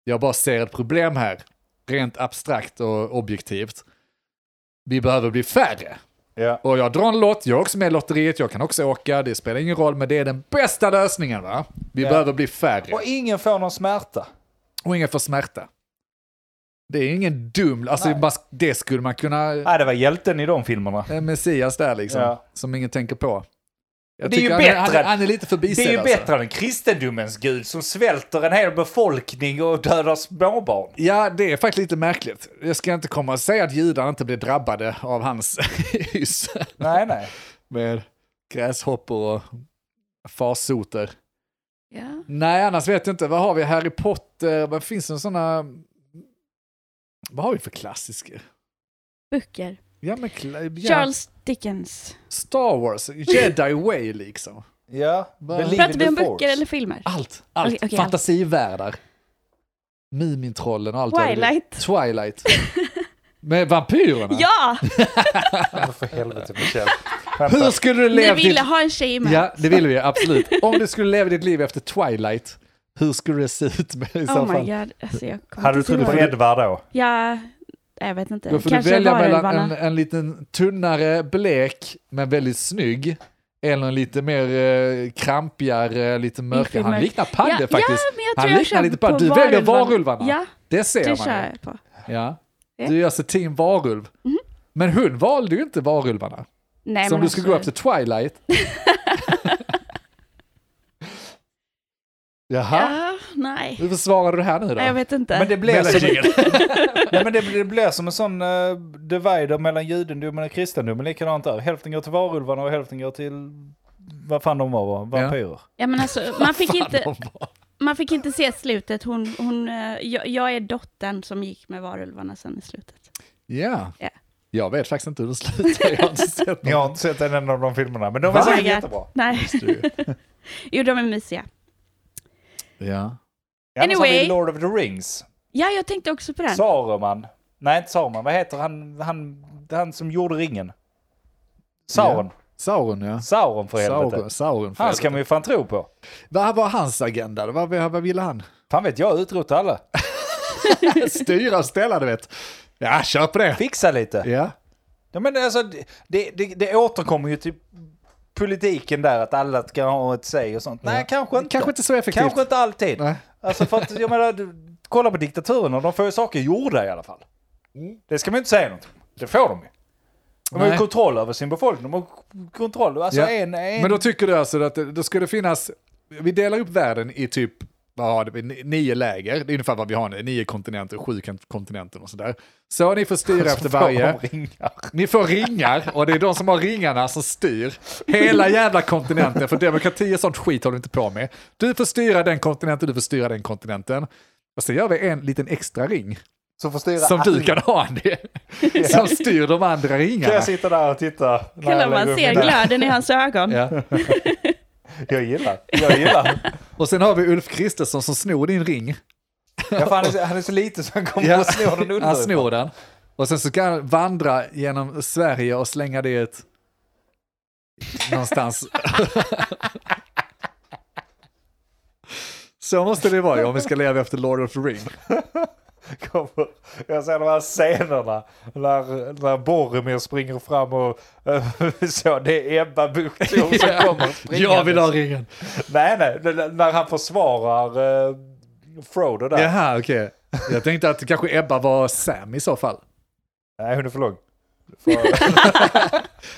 [SPEAKER 3] Jag bara ser ett problem här, rent abstrakt och objektivt. Vi behöver bli färre.
[SPEAKER 1] Ja.
[SPEAKER 3] Och jag drar en lott, jag är också med i lotteriet, jag kan också åka, det spelar ingen roll, men det är den bästa lösningen va? Vi
[SPEAKER 1] Ja.
[SPEAKER 3] behöver bli färre.
[SPEAKER 1] Och ingen får någon smärta.
[SPEAKER 3] Och ingen får smärta. Det är ingen dum, alltså
[SPEAKER 1] Nej.
[SPEAKER 3] man- det skulle man kunna,
[SPEAKER 1] Nej, det var hjälten i de filmerna.
[SPEAKER 3] en Messias där liksom,
[SPEAKER 1] Ja.
[SPEAKER 3] som ingen tänker på. Jag
[SPEAKER 1] Det är ju
[SPEAKER 3] tycker han
[SPEAKER 1] bättre.
[SPEAKER 3] Han, är- han är lite
[SPEAKER 1] Det
[SPEAKER 3] förbisedd
[SPEAKER 1] är ju
[SPEAKER 3] alltså.
[SPEAKER 1] bättre än kristendomens gud som svälter en hel befolkning och dödar småbarn.
[SPEAKER 3] Ja, det är faktiskt lite märkligt. Jag ska inte komma och säga att judar inte blir drabbade av hans hyss
[SPEAKER 1] Nej, nej.
[SPEAKER 3] med gräshoppor och farsoter.
[SPEAKER 4] Ja.
[SPEAKER 3] Nej, annars vet jag inte. Vad har vi? Harry Potter? Vad finns det sådana... Vad har vi för klassiker?
[SPEAKER 4] Böcker.
[SPEAKER 3] Ja, men kla- ja.
[SPEAKER 4] Charles Dickens.
[SPEAKER 3] Star Wars, Jedi Way liksom.
[SPEAKER 1] Ja,
[SPEAKER 3] Vad-
[SPEAKER 1] believe
[SPEAKER 4] Pratar
[SPEAKER 1] in
[SPEAKER 4] vi
[SPEAKER 1] the
[SPEAKER 4] om
[SPEAKER 1] force.
[SPEAKER 4] böcker eller filmer?
[SPEAKER 3] Allt, allt.
[SPEAKER 4] Okej, okej,
[SPEAKER 3] Fantasivärldar. Mumintrollen och allt. vad det är.
[SPEAKER 4] Twilight.
[SPEAKER 3] Twilight. Med vampyrerna.
[SPEAKER 4] Ja!
[SPEAKER 1] Ja, För helvete, Michelle. Vänta.
[SPEAKER 3] Hur skulle du
[SPEAKER 4] Ni
[SPEAKER 3] leva
[SPEAKER 4] ville
[SPEAKER 3] ditt...
[SPEAKER 4] ha en tjej med.
[SPEAKER 3] Ja, det vill vi absolut. Om du skulle leva ditt liv efter Twilight, hur skulle det se ut med, i så
[SPEAKER 4] Oh my
[SPEAKER 3] fall?
[SPEAKER 4] god. Alltså, jag kommer
[SPEAKER 1] Hade du
[SPEAKER 4] inte
[SPEAKER 1] trott på
[SPEAKER 4] ihåg.
[SPEAKER 1] Edvard då?
[SPEAKER 4] Ja, jag vet inte.
[SPEAKER 3] Då får du
[SPEAKER 4] Kanske
[SPEAKER 3] välja mellan
[SPEAKER 4] varulvarna.
[SPEAKER 3] en, en liten tunnare, blek, men väldigt snygg, eller en lite mer eh, krampigare, lite mörkare. Han
[SPEAKER 4] mörk.
[SPEAKER 3] liknar Padde
[SPEAKER 4] ja,
[SPEAKER 3] faktiskt.
[SPEAKER 4] Ja, men jag
[SPEAKER 3] Han
[SPEAKER 4] tror jag
[SPEAKER 3] liknar
[SPEAKER 4] kör
[SPEAKER 3] lite
[SPEAKER 4] på
[SPEAKER 3] Padde. Du väljer varulvarna.
[SPEAKER 4] Ja,
[SPEAKER 3] Det ser
[SPEAKER 4] det
[SPEAKER 3] man
[SPEAKER 4] kör
[SPEAKER 3] ju.
[SPEAKER 4] jag på.
[SPEAKER 3] Ja.
[SPEAKER 4] Ja. Mhm.
[SPEAKER 3] Du är alltså team varulv. Men hon valde ju inte varulvarna.
[SPEAKER 4] Nej,
[SPEAKER 3] så om
[SPEAKER 4] men
[SPEAKER 3] du ska
[SPEAKER 4] alltså-
[SPEAKER 3] gå efter Twilight. Jaha,
[SPEAKER 4] Ja, nej.
[SPEAKER 3] hur försvarar du det här nu då?
[SPEAKER 4] Nej, jag vet inte.
[SPEAKER 1] Men det blev som,
[SPEAKER 3] Melodin.
[SPEAKER 1] nej, men det, det blev som en sån eh, divider mellan judendomen och kristendomen. Likadant där. Hälften går till varulvarna och hälften går till vad fan de var, va? vampyrer.
[SPEAKER 4] Ja, men alltså, man, fick inte,
[SPEAKER 3] Fan, de var-
[SPEAKER 4] man fick inte se slutet. Hon, hon, eh, jag, jag är dottern som gick med varulvarna sen i slutet.
[SPEAKER 3] Ja,
[SPEAKER 4] Ja.
[SPEAKER 3] Jag vet faktiskt inte hur den slutar, jag har inte sett
[SPEAKER 1] Jag
[SPEAKER 3] den.
[SPEAKER 1] har inte sett en enda av de filmerna, men de är
[SPEAKER 3] Mm. Va?
[SPEAKER 1] säkert
[SPEAKER 4] Ja.
[SPEAKER 1] jättebra.
[SPEAKER 4] Nej, jo de är mysiga.
[SPEAKER 1] Annars
[SPEAKER 3] Ja.
[SPEAKER 1] har vi
[SPEAKER 4] Anyway.
[SPEAKER 1] Lord of the Rings.
[SPEAKER 4] Ja, jag tänkte också på den.
[SPEAKER 1] Saruman. Nej, inte Saruman. Vad heter han, han, han som gjorde ringen? Sauron.
[SPEAKER 3] Ja. Sauron, ja.
[SPEAKER 1] Sauron för helvete.
[SPEAKER 3] Sauron, Sauron för
[SPEAKER 1] Han
[SPEAKER 3] helvete.
[SPEAKER 1] ska man ju fan tro på.
[SPEAKER 3] Vad var hans agenda? Vad, vad, vad ville han?
[SPEAKER 1] Fan vet jag, utrota alla.
[SPEAKER 3] Styra och ställa, du vet. Ja, kör på det.
[SPEAKER 1] Fixa lite.
[SPEAKER 3] Ja.
[SPEAKER 1] Ja, men alltså, det, det, det återkommer ju till politiken där att alla ska ha ett säg och sånt. Nej,
[SPEAKER 3] Ja.
[SPEAKER 1] kanske inte.
[SPEAKER 3] Kanske inte så effektivt.
[SPEAKER 1] Kanske inte alltid.
[SPEAKER 3] Nej.
[SPEAKER 1] Alltså för att, jag menar, du, kolla på diktaturerna, de får ju saker gjorda i alla fall. Det ska man ju inte säga något om. Det får de ju. De har ju
[SPEAKER 3] Mm. Nej.
[SPEAKER 1] kontroll över sin befolkning. De har kontroll, alltså
[SPEAKER 3] Ja.
[SPEAKER 1] en, en...
[SPEAKER 3] Men då tycker du alltså att det, då ska det finnas, vi delar upp världen i typ vad har det, ni- nio läger, det är ungefär vad vi har nu, nio kontinenter, sju kont- kontinenter och sådär. Så ni får styra efter varje, ni får ringar och det är de som har ringarna som styr hela jävla kontinenten, för demokrati och sånt skit håller vi inte på med. Du får styra den kontinenten, du får styra den kontinenten. Och så gör vi en liten extra ring
[SPEAKER 1] Så får styra
[SPEAKER 3] som du kan ha, Andy, som styr de andra
[SPEAKER 1] Kan
[SPEAKER 3] ringarna.
[SPEAKER 1] jag sitta där och titta? när
[SPEAKER 4] Kolla
[SPEAKER 1] jag
[SPEAKER 4] man
[SPEAKER 1] lägger upp
[SPEAKER 4] ser
[SPEAKER 1] den där?
[SPEAKER 4] glöden i hans ögon.
[SPEAKER 3] Ja.
[SPEAKER 1] Jag gillar, jag gillar.
[SPEAKER 3] Och sen har vi Ulf Kristersson som snor din ring.
[SPEAKER 1] Ja, för han, är, så- han är så liten så han kommer
[SPEAKER 3] Ja,
[SPEAKER 1] att
[SPEAKER 3] Alltså,
[SPEAKER 1] slå den
[SPEAKER 3] han
[SPEAKER 1] under.
[SPEAKER 3] snor den. Och sen så kan han vandra genom Sverige och slänga det i ett... Någonstans. så måste det vara ju om vi ska leva efter Lord of the Ring.
[SPEAKER 1] kommer, jag ser de här scenerna när, när Boromir springer fram och eh, så, det är Ebba Busch Thor som kommer springandes.
[SPEAKER 3] Jag vill ha ringen.
[SPEAKER 1] Nej, nej, det- det- när han försvarar eh, Frodo där.
[SPEAKER 3] Jaha, okej. Jag tänkte att kanske Ebba var Sam i så fall.
[SPEAKER 1] Nej, hon är för lång.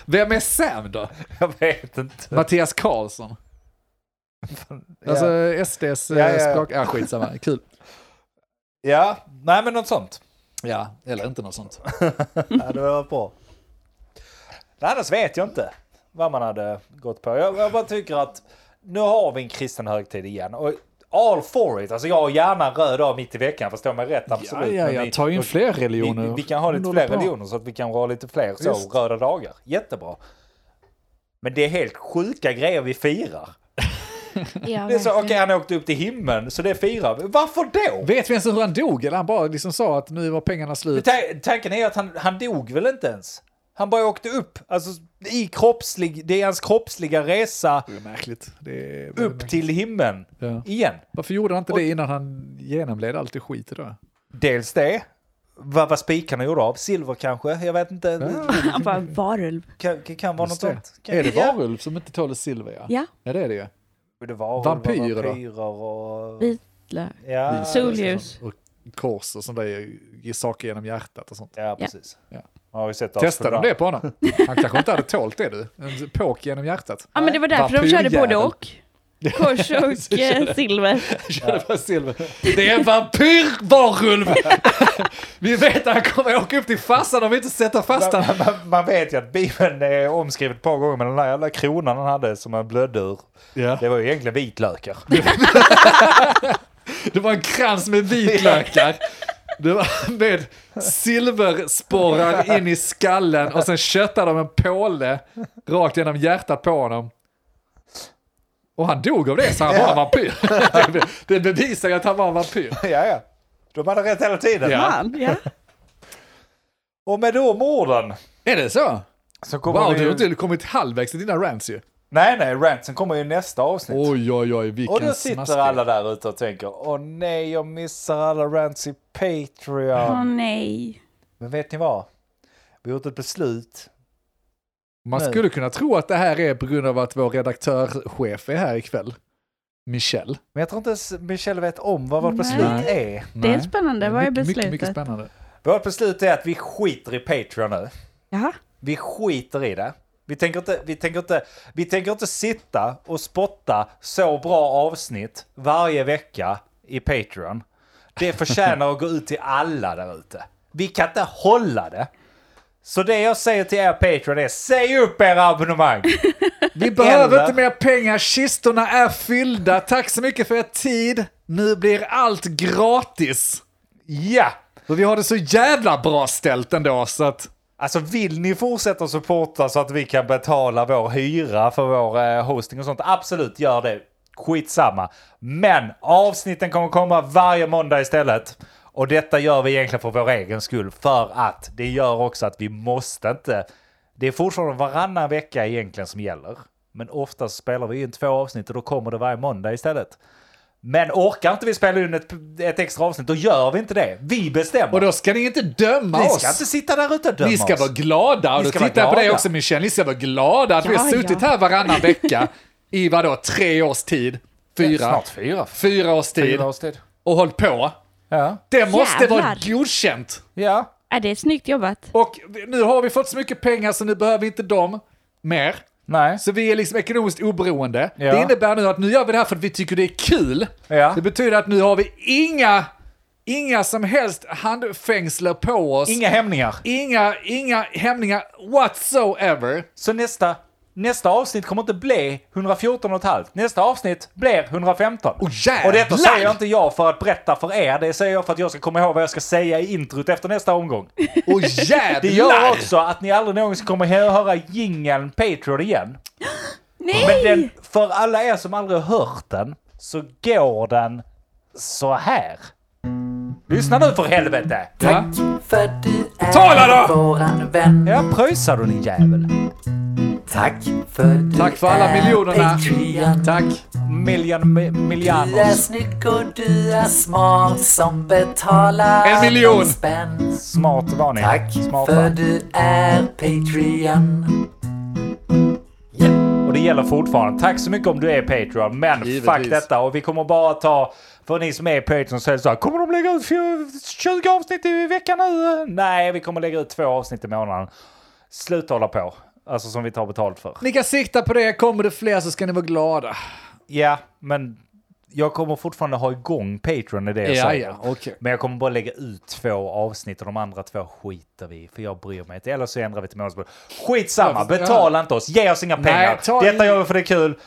[SPEAKER 3] Vem är Sam då?
[SPEAKER 1] Jag vet inte.
[SPEAKER 3] Mattias Karlsson? Alltså
[SPEAKER 1] ja.
[SPEAKER 3] SDs
[SPEAKER 1] Ja,
[SPEAKER 3] ja,
[SPEAKER 1] ja, ja.
[SPEAKER 3] språk... Ja, skitsamma. Kul.
[SPEAKER 1] ja, nej men något sånt.
[SPEAKER 3] Ja, eller inte något sånt.
[SPEAKER 1] Ja, det var bra. Nej, Annars vet jag inte vad man hade gått på. Jag, jag bara tycker att nu har vi en kristen högtid igen. Och all for it. Alltså jag har gärna en röd dag mitt i veckan, förstå mig rätt. Absolut.
[SPEAKER 3] Ja, ja,
[SPEAKER 1] Men
[SPEAKER 3] ja.
[SPEAKER 1] vi-
[SPEAKER 3] Ta in fler
[SPEAKER 1] vi,
[SPEAKER 3] religioner.
[SPEAKER 1] vi, vi kan ha lite
[SPEAKER 3] Håller
[SPEAKER 1] fler
[SPEAKER 3] på.
[SPEAKER 1] religioner så att vi kan ha lite fler så
[SPEAKER 3] Just.
[SPEAKER 1] röda dagar. Jättebra. Men det är helt sjuka grejer vi firar.
[SPEAKER 4] Ja,
[SPEAKER 1] Det är så, okej
[SPEAKER 4] verkligen.
[SPEAKER 1] han åkte upp till himlen, så det firar vi. Varför då?
[SPEAKER 3] Vet vi ens hur han dog? Eller han bara liksom sa att nu var pengarna slut.
[SPEAKER 1] Ta- tanken är att han, han dog väl inte ens? Han bara åkte upp, alltså i kroppslig, det är hans kroppsliga resa
[SPEAKER 3] Det är märkligt. Det är väldigt
[SPEAKER 1] upp
[SPEAKER 3] märkligt.
[SPEAKER 1] till himlen
[SPEAKER 3] Ja.
[SPEAKER 1] igen.
[SPEAKER 3] Varför gjorde han inte det innan han genomled allt det skit idag?
[SPEAKER 1] Dels det, vad var spikarna gjorda av? Silver kanske? Jag vet inte.
[SPEAKER 4] Han bara, varulv.
[SPEAKER 1] Kan, kan, kan vara något
[SPEAKER 3] Just det.
[SPEAKER 1] sånt. Kan,
[SPEAKER 3] Är det
[SPEAKER 1] ja.
[SPEAKER 3] varulv som inte tål silver? Ja.
[SPEAKER 4] Ja,
[SPEAKER 3] ja, det är det ju.
[SPEAKER 1] Det var
[SPEAKER 3] Vampyrer då?
[SPEAKER 1] vampyrer och...
[SPEAKER 4] vitlök.
[SPEAKER 1] Ja,
[SPEAKER 4] Solljus.
[SPEAKER 3] Och kors och sådana där i- saker genom hjärtat och sånt.
[SPEAKER 1] Ja, precis.
[SPEAKER 3] Ja.
[SPEAKER 1] Har vi sett
[SPEAKER 3] Testade de
[SPEAKER 1] Astronaut?
[SPEAKER 3] det på honom? Han kanske inte hade tålt det du. En påk genom hjärtat.
[SPEAKER 4] Ja, men det var därför de körde
[SPEAKER 3] Vampyrjävel.
[SPEAKER 4] både och. Kors och eh, silver.
[SPEAKER 3] Körde bara silver. Det är en vampyrvarulv! Vi vet att han kommer åka upp till farsan om vi inte sätter fast
[SPEAKER 1] Man,
[SPEAKER 3] honom.
[SPEAKER 1] man, man vet ju att Bibeln är omskriven ett par gånger, men den där jävla kronan han hade som han blödde ur,
[SPEAKER 3] Ja.
[SPEAKER 1] det var ju egentligen vitlökar.
[SPEAKER 3] Det var en krans med vitlökar. Det var med silversporrar in i skallen och sen köttade de en påle rakt genom hjärtat på honom. Och han dog av det, så han var en vampyr. Det be- Det bevisar ju att han var en vampyr.
[SPEAKER 1] ja, ja. De hade rätt hela tiden.
[SPEAKER 3] Ja.
[SPEAKER 4] Fan, ja.
[SPEAKER 1] Och med de orden
[SPEAKER 3] Är det så?
[SPEAKER 1] så kommer
[SPEAKER 3] Wow,
[SPEAKER 1] vi
[SPEAKER 3] du
[SPEAKER 1] ju...
[SPEAKER 3] har inte kommit halvvägs till dina rants ju.
[SPEAKER 1] Nej, nej, rantsen kommer ju i nästa avsnitt.
[SPEAKER 3] Oj, oj, oj,
[SPEAKER 1] och då
[SPEAKER 3] vilken
[SPEAKER 1] sitter
[SPEAKER 3] smaskig.
[SPEAKER 1] alla där ute och tänker, åh nej, jag missar alla rants i Patreon.
[SPEAKER 4] Åh nej.
[SPEAKER 1] Men vet ni vad? Vi har gjort ett beslut.
[SPEAKER 3] Man skulle kunna tro att det här är på grund av att vår redaktörchef är här ikväll. Michelle.
[SPEAKER 1] Men jag tror inte ens Michelle vet om vad vårt
[SPEAKER 4] Nej.
[SPEAKER 1] beslut är.
[SPEAKER 4] Det är
[SPEAKER 3] Nej.
[SPEAKER 4] spännande. Vad är
[SPEAKER 3] Mycket, Mycket, mycket
[SPEAKER 4] beslutet?
[SPEAKER 3] spännande.
[SPEAKER 1] Vårt beslut är att vi skiter i Patreon nu.
[SPEAKER 4] Jaha.
[SPEAKER 1] Vi skiter i det. Vi tänker, inte, vi, tänker inte, vi tänker inte sitta och spotta så bra avsnitt varje vecka i Patreon. Det förtjänar att gå ut till alla där ute. Vi kan inte hålla det. Så det jag säger till er Patreon är, säg upp era abonnemang!
[SPEAKER 3] Vi behöver
[SPEAKER 1] Eller-
[SPEAKER 3] inte mer pengar, kistorna är fyllda. Tack så mycket för er tid. Nu blir allt gratis.
[SPEAKER 1] Ja!
[SPEAKER 3] Och vi har det så jävla bra ställt ändå, så att...
[SPEAKER 1] Alltså vill ni fortsätta supporta så att vi kan betala vår hyra för vår eh, hosting och sånt? Absolut, gör det. Skitsamma. Men avsnitten kommer komma varje måndag istället. Och detta gör vi egentligen för vår egen skull. För att det gör också att vi måste inte... Det är fortfarande varannan vecka egentligen som gäller. Men oftast spelar vi in två avsnitt och då kommer det varje måndag istället. Men orkar inte vi spela in ett, ett extra avsnitt, då gör vi inte det. Vi bestämmer.
[SPEAKER 3] Och då ska ni inte döma
[SPEAKER 1] Ni
[SPEAKER 3] oss!
[SPEAKER 1] ska inte sitta där ute och döma
[SPEAKER 3] Ni ska
[SPEAKER 1] oss.
[SPEAKER 3] vara glada. Och
[SPEAKER 1] Ni
[SPEAKER 3] då
[SPEAKER 1] ska vara
[SPEAKER 3] tittar jag på dig
[SPEAKER 1] glada.
[SPEAKER 3] också Michel. Ni ska vara glada att vi har
[SPEAKER 4] Ja,
[SPEAKER 3] suttit
[SPEAKER 4] ja.
[SPEAKER 3] här varannan vecka i vadå, tre års tid? Fyra?
[SPEAKER 1] Snart fyra.
[SPEAKER 3] Fyra års tid.
[SPEAKER 1] Fyra års tid.
[SPEAKER 3] Och hållit på.
[SPEAKER 1] Ja.
[SPEAKER 3] Det måste vara
[SPEAKER 4] Jävlar.
[SPEAKER 3] godkänt.
[SPEAKER 1] Ja.
[SPEAKER 4] Äh, det är snyggt jobbat.
[SPEAKER 3] Och nu har vi fått så mycket pengar så nu behöver vi inte dem mer.
[SPEAKER 1] Nej.
[SPEAKER 3] Så vi är liksom ekonomiskt oberoende.
[SPEAKER 1] Ja.
[SPEAKER 3] Det innebär nu att nu gör vi det här för att vi tycker det är kul.
[SPEAKER 1] Ja.
[SPEAKER 3] Det betyder att nu har vi inga, inga som helst handfängsler på oss.
[SPEAKER 1] Inga hämningar.
[SPEAKER 3] inga, inga hämningar whatsoever.
[SPEAKER 1] Så nästa, nästa avsnitt kommer inte bli 114,5. Nästa avsnitt blir 115.
[SPEAKER 3] Åh, jävlar!
[SPEAKER 1] och detta säger jag inte jag för att berätta för er. Det säger jag för att jag ska komma ihåg vad jag ska säga i introt efter nästa omgång.
[SPEAKER 3] Och jävlar!
[SPEAKER 1] Det gör också att ni aldrig någonsin kommer hö- höra jingeln Patreon igen.
[SPEAKER 4] Nej!
[SPEAKER 1] Men den, för alla er som aldrig har hört den, så går den så här. Lyssna nu för helvete!
[SPEAKER 3] Ja.
[SPEAKER 6] För du är
[SPEAKER 3] Tala då!
[SPEAKER 6] våran vän.
[SPEAKER 1] Ja, pröjsar du din jävel?
[SPEAKER 6] Tack för du
[SPEAKER 3] Tack för alla
[SPEAKER 6] är
[SPEAKER 3] miljonerna.
[SPEAKER 6] Patreon.
[SPEAKER 3] Tack.
[SPEAKER 1] Miljon, mi-
[SPEAKER 6] Du är
[SPEAKER 1] miljoners
[SPEAKER 6] snygg och du är smart som betalar
[SPEAKER 3] En miljon.
[SPEAKER 6] någon spänn.
[SPEAKER 1] smart var ni.
[SPEAKER 6] Tack
[SPEAKER 1] Smarta.
[SPEAKER 6] för du är Patreon.
[SPEAKER 1] Och det gäller fortfarande. Tack så mycket om du är Patreon. Men
[SPEAKER 3] Givetvis.
[SPEAKER 1] fuck detta. Och vi kommer bara ta... För ni som är Patreon så är det så här. Kommer de lägga ut 20 avsnitt i veckan nu? Nej, vi kommer lägga ut två avsnitt i månaden. Sluta hålla på. Alltså som vi tar betalt för.
[SPEAKER 3] Ni kan sikta på det. Kommer det fler så ska ni vara glada.
[SPEAKER 1] Ja, men jag kommer fortfarande ha igång Patreon i det jag
[SPEAKER 3] Ja,
[SPEAKER 1] säger.
[SPEAKER 3] ja, okej.
[SPEAKER 1] Men jag kommer bara lägga ut två avsnitt och de andra två skiter vi i, för jag bryr mig inte. Eller så ändrar vi till månadsbord. Skitsamma,
[SPEAKER 3] Ja, fast-
[SPEAKER 1] betala inte oss, ge oss inga pengar.
[SPEAKER 3] ta-
[SPEAKER 1] Detta gör vi för det är kul.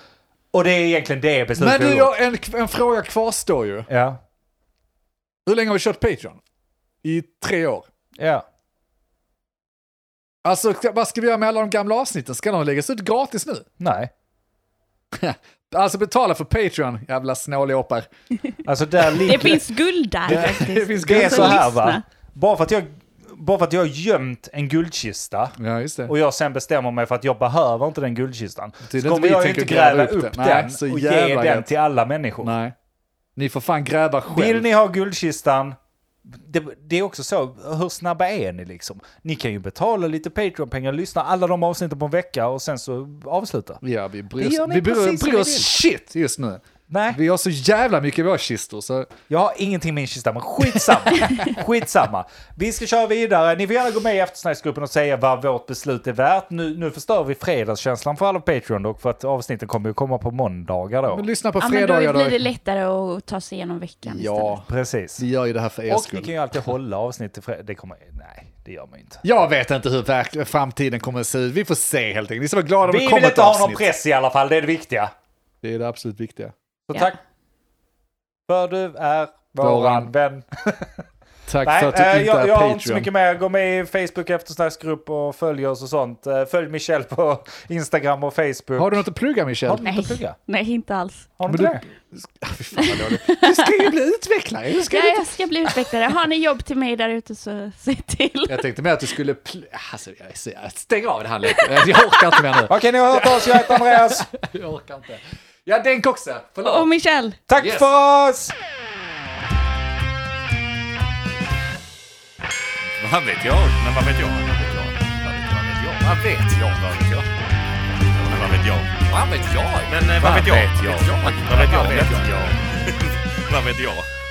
[SPEAKER 1] Och det är egentligen det beslutet
[SPEAKER 3] Men
[SPEAKER 1] vi
[SPEAKER 3] du,
[SPEAKER 1] gjort.
[SPEAKER 3] jag, en, en fråga kvarstår ju.
[SPEAKER 1] Ja,
[SPEAKER 3] Hur länge har vi kört Patreon? I tre år.
[SPEAKER 1] ja.
[SPEAKER 3] Alltså, ska- vad ska vi göra med alla de gamla avsnitten? Ska de läggas ut gratis nu?
[SPEAKER 1] Nej.
[SPEAKER 3] Alltså betala för Patreon, jävla snåljåpar.
[SPEAKER 1] Alltså där ligger...
[SPEAKER 4] Det finns guld där faktiskt.
[SPEAKER 3] Det finns
[SPEAKER 1] det är
[SPEAKER 3] guld.
[SPEAKER 4] alltså,
[SPEAKER 1] så här va.
[SPEAKER 4] lyssna.
[SPEAKER 1] Bara för att jag, bara för att jag har gömt en guldkista.
[SPEAKER 3] Ja, just det.
[SPEAKER 1] och jag sen bestämmer mig för att jag behöver inte den guldkistan.
[SPEAKER 3] Det är
[SPEAKER 1] Så
[SPEAKER 3] inte
[SPEAKER 1] kommer
[SPEAKER 3] vi
[SPEAKER 1] jag ju
[SPEAKER 3] tänker
[SPEAKER 1] inte gräva upp den,
[SPEAKER 3] Nej, så
[SPEAKER 1] och
[SPEAKER 3] jävla
[SPEAKER 1] ge den
[SPEAKER 3] gött.
[SPEAKER 1] till alla människor.
[SPEAKER 3] Nej. Ni får fan gräva själv.
[SPEAKER 1] Vill ni ha guldkistan, det, det är också så, hur snabba är ni liksom? Ni kan ju betala lite Patreon-pengar, lyssna alla de avsnitten på en vecka och sen så avsluta.
[SPEAKER 3] Ja, vi bryr
[SPEAKER 1] Det
[SPEAKER 3] oss,
[SPEAKER 1] gör ni
[SPEAKER 3] vi bryr,
[SPEAKER 1] precis som
[SPEAKER 3] bryr
[SPEAKER 1] ni
[SPEAKER 3] oss
[SPEAKER 1] vill.
[SPEAKER 3] shit just nu.
[SPEAKER 1] Nej,
[SPEAKER 3] Vi har så jävla mycket i våra kistor så...
[SPEAKER 1] jag har ingenting med min kista, men skitsamma. skitsamma. Vi ska köra vidare. Ni får gärna gå med i eftersnacksgruppen och säga vad vårt beslut är värt. Nu, nu förstör vi fredagskänslan för alla på Patreon dock, för att avsnitten kommer ju komma på måndagar då.
[SPEAKER 3] Men lyssna på
[SPEAKER 4] Ja, men då
[SPEAKER 3] fredagar
[SPEAKER 4] blir det
[SPEAKER 3] då.
[SPEAKER 4] lättare att ta sig igenom veckan istället.
[SPEAKER 3] Ja,
[SPEAKER 1] Precis.
[SPEAKER 3] vi gör ju det här för er
[SPEAKER 1] Och ni kan
[SPEAKER 3] skull.
[SPEAKER 1] ju alltid hålla avsnitt till fredag. Det kommer... Nej, det gör man ju inte.
[SPEAKER 3] Jag vet inte hur verk- framtiden kommer att se ut. Vi får se helt enkelt. Ni ska vara glada om det
[SPEAKER 1] Vi vill
[SPEAKER 3] kommer ett
[SPEAKER 1] inte ha någon
[SPEAKER 3] avsnitt.
[SPEAKER 1] press i alla fall, det är det viktiga.
[SPEAKER 3] Det är det absolut viktiga.
[SPEAKER 1] Så
[SPEAKER 4] Ja.
[SPEAKER 1] tack. För du är våran,
[SPEAKER 3] Våran.
[SPEAKER 1] vän.
[SPEAKER 3] Tack
[SPEAKER 1] Nej,
[SPEAKER 3] för att du
[SPEAKER 1] eh,
[SPEAKER 3] inte
[SPEAKER 1] jag,
[SPEAKER 3] är
[SPEAKER 1] jag har inte så
[SPEAKER 3] Patreon.
[SPEAKER 1] mycket mer. Gå med i Facebook eftersnacksgrupp och följ oss och sånt. Eh, Följ Michelle på Instagram och Facebook.
[SPEAKER 3] Har du något att plugga Michel?
[SPEAKER 1] Har du inte
[SPEAKER 4] Nej.
[SPEAKER 1] att plugga?
[SPEAKER 4] Nej, inte alls.
[SPEAKER 1] Har du
[SPEAKER 3] Men
[SPEAKER 1] inte det?
[SPEAKER 3] Fy fan vad dåligt. Du ska ju bli utvecklare. Du ska
[SPEAKER 4] Ja,
[SPEAKER 3] ju
[SPEAKER 4] jag ska bli utvecklare. Har ni jobb till mig där ute så se till.
[SPEAKER 3] Jag tänkte mer att du skulle... Pl- alltså, jag, ser- jag stäng av det här lite. Jag orkar inte mer nu.
[SPEAKER 1] Okej, ni har hört oss. Jag heter Andreas.
[SPEAKER 3] Jag orkar inte. Ja, Denk också. Förlåt.
[SPEAKER 4] Och Michelle!
[SPEAKER 1] Tack
[SPEAKER 3] Yes.
[SPEAKER 1] för oss!
[SPEAKER 5] Vad vet jag? Men vad vet jag? Vad vet jag? Vad vet jag? Vad vet jag? Men vad vet jag? Vad vet jag? Men eh, vad vet jag? Vad vet jag? Vad vet jag? Vad vet jag?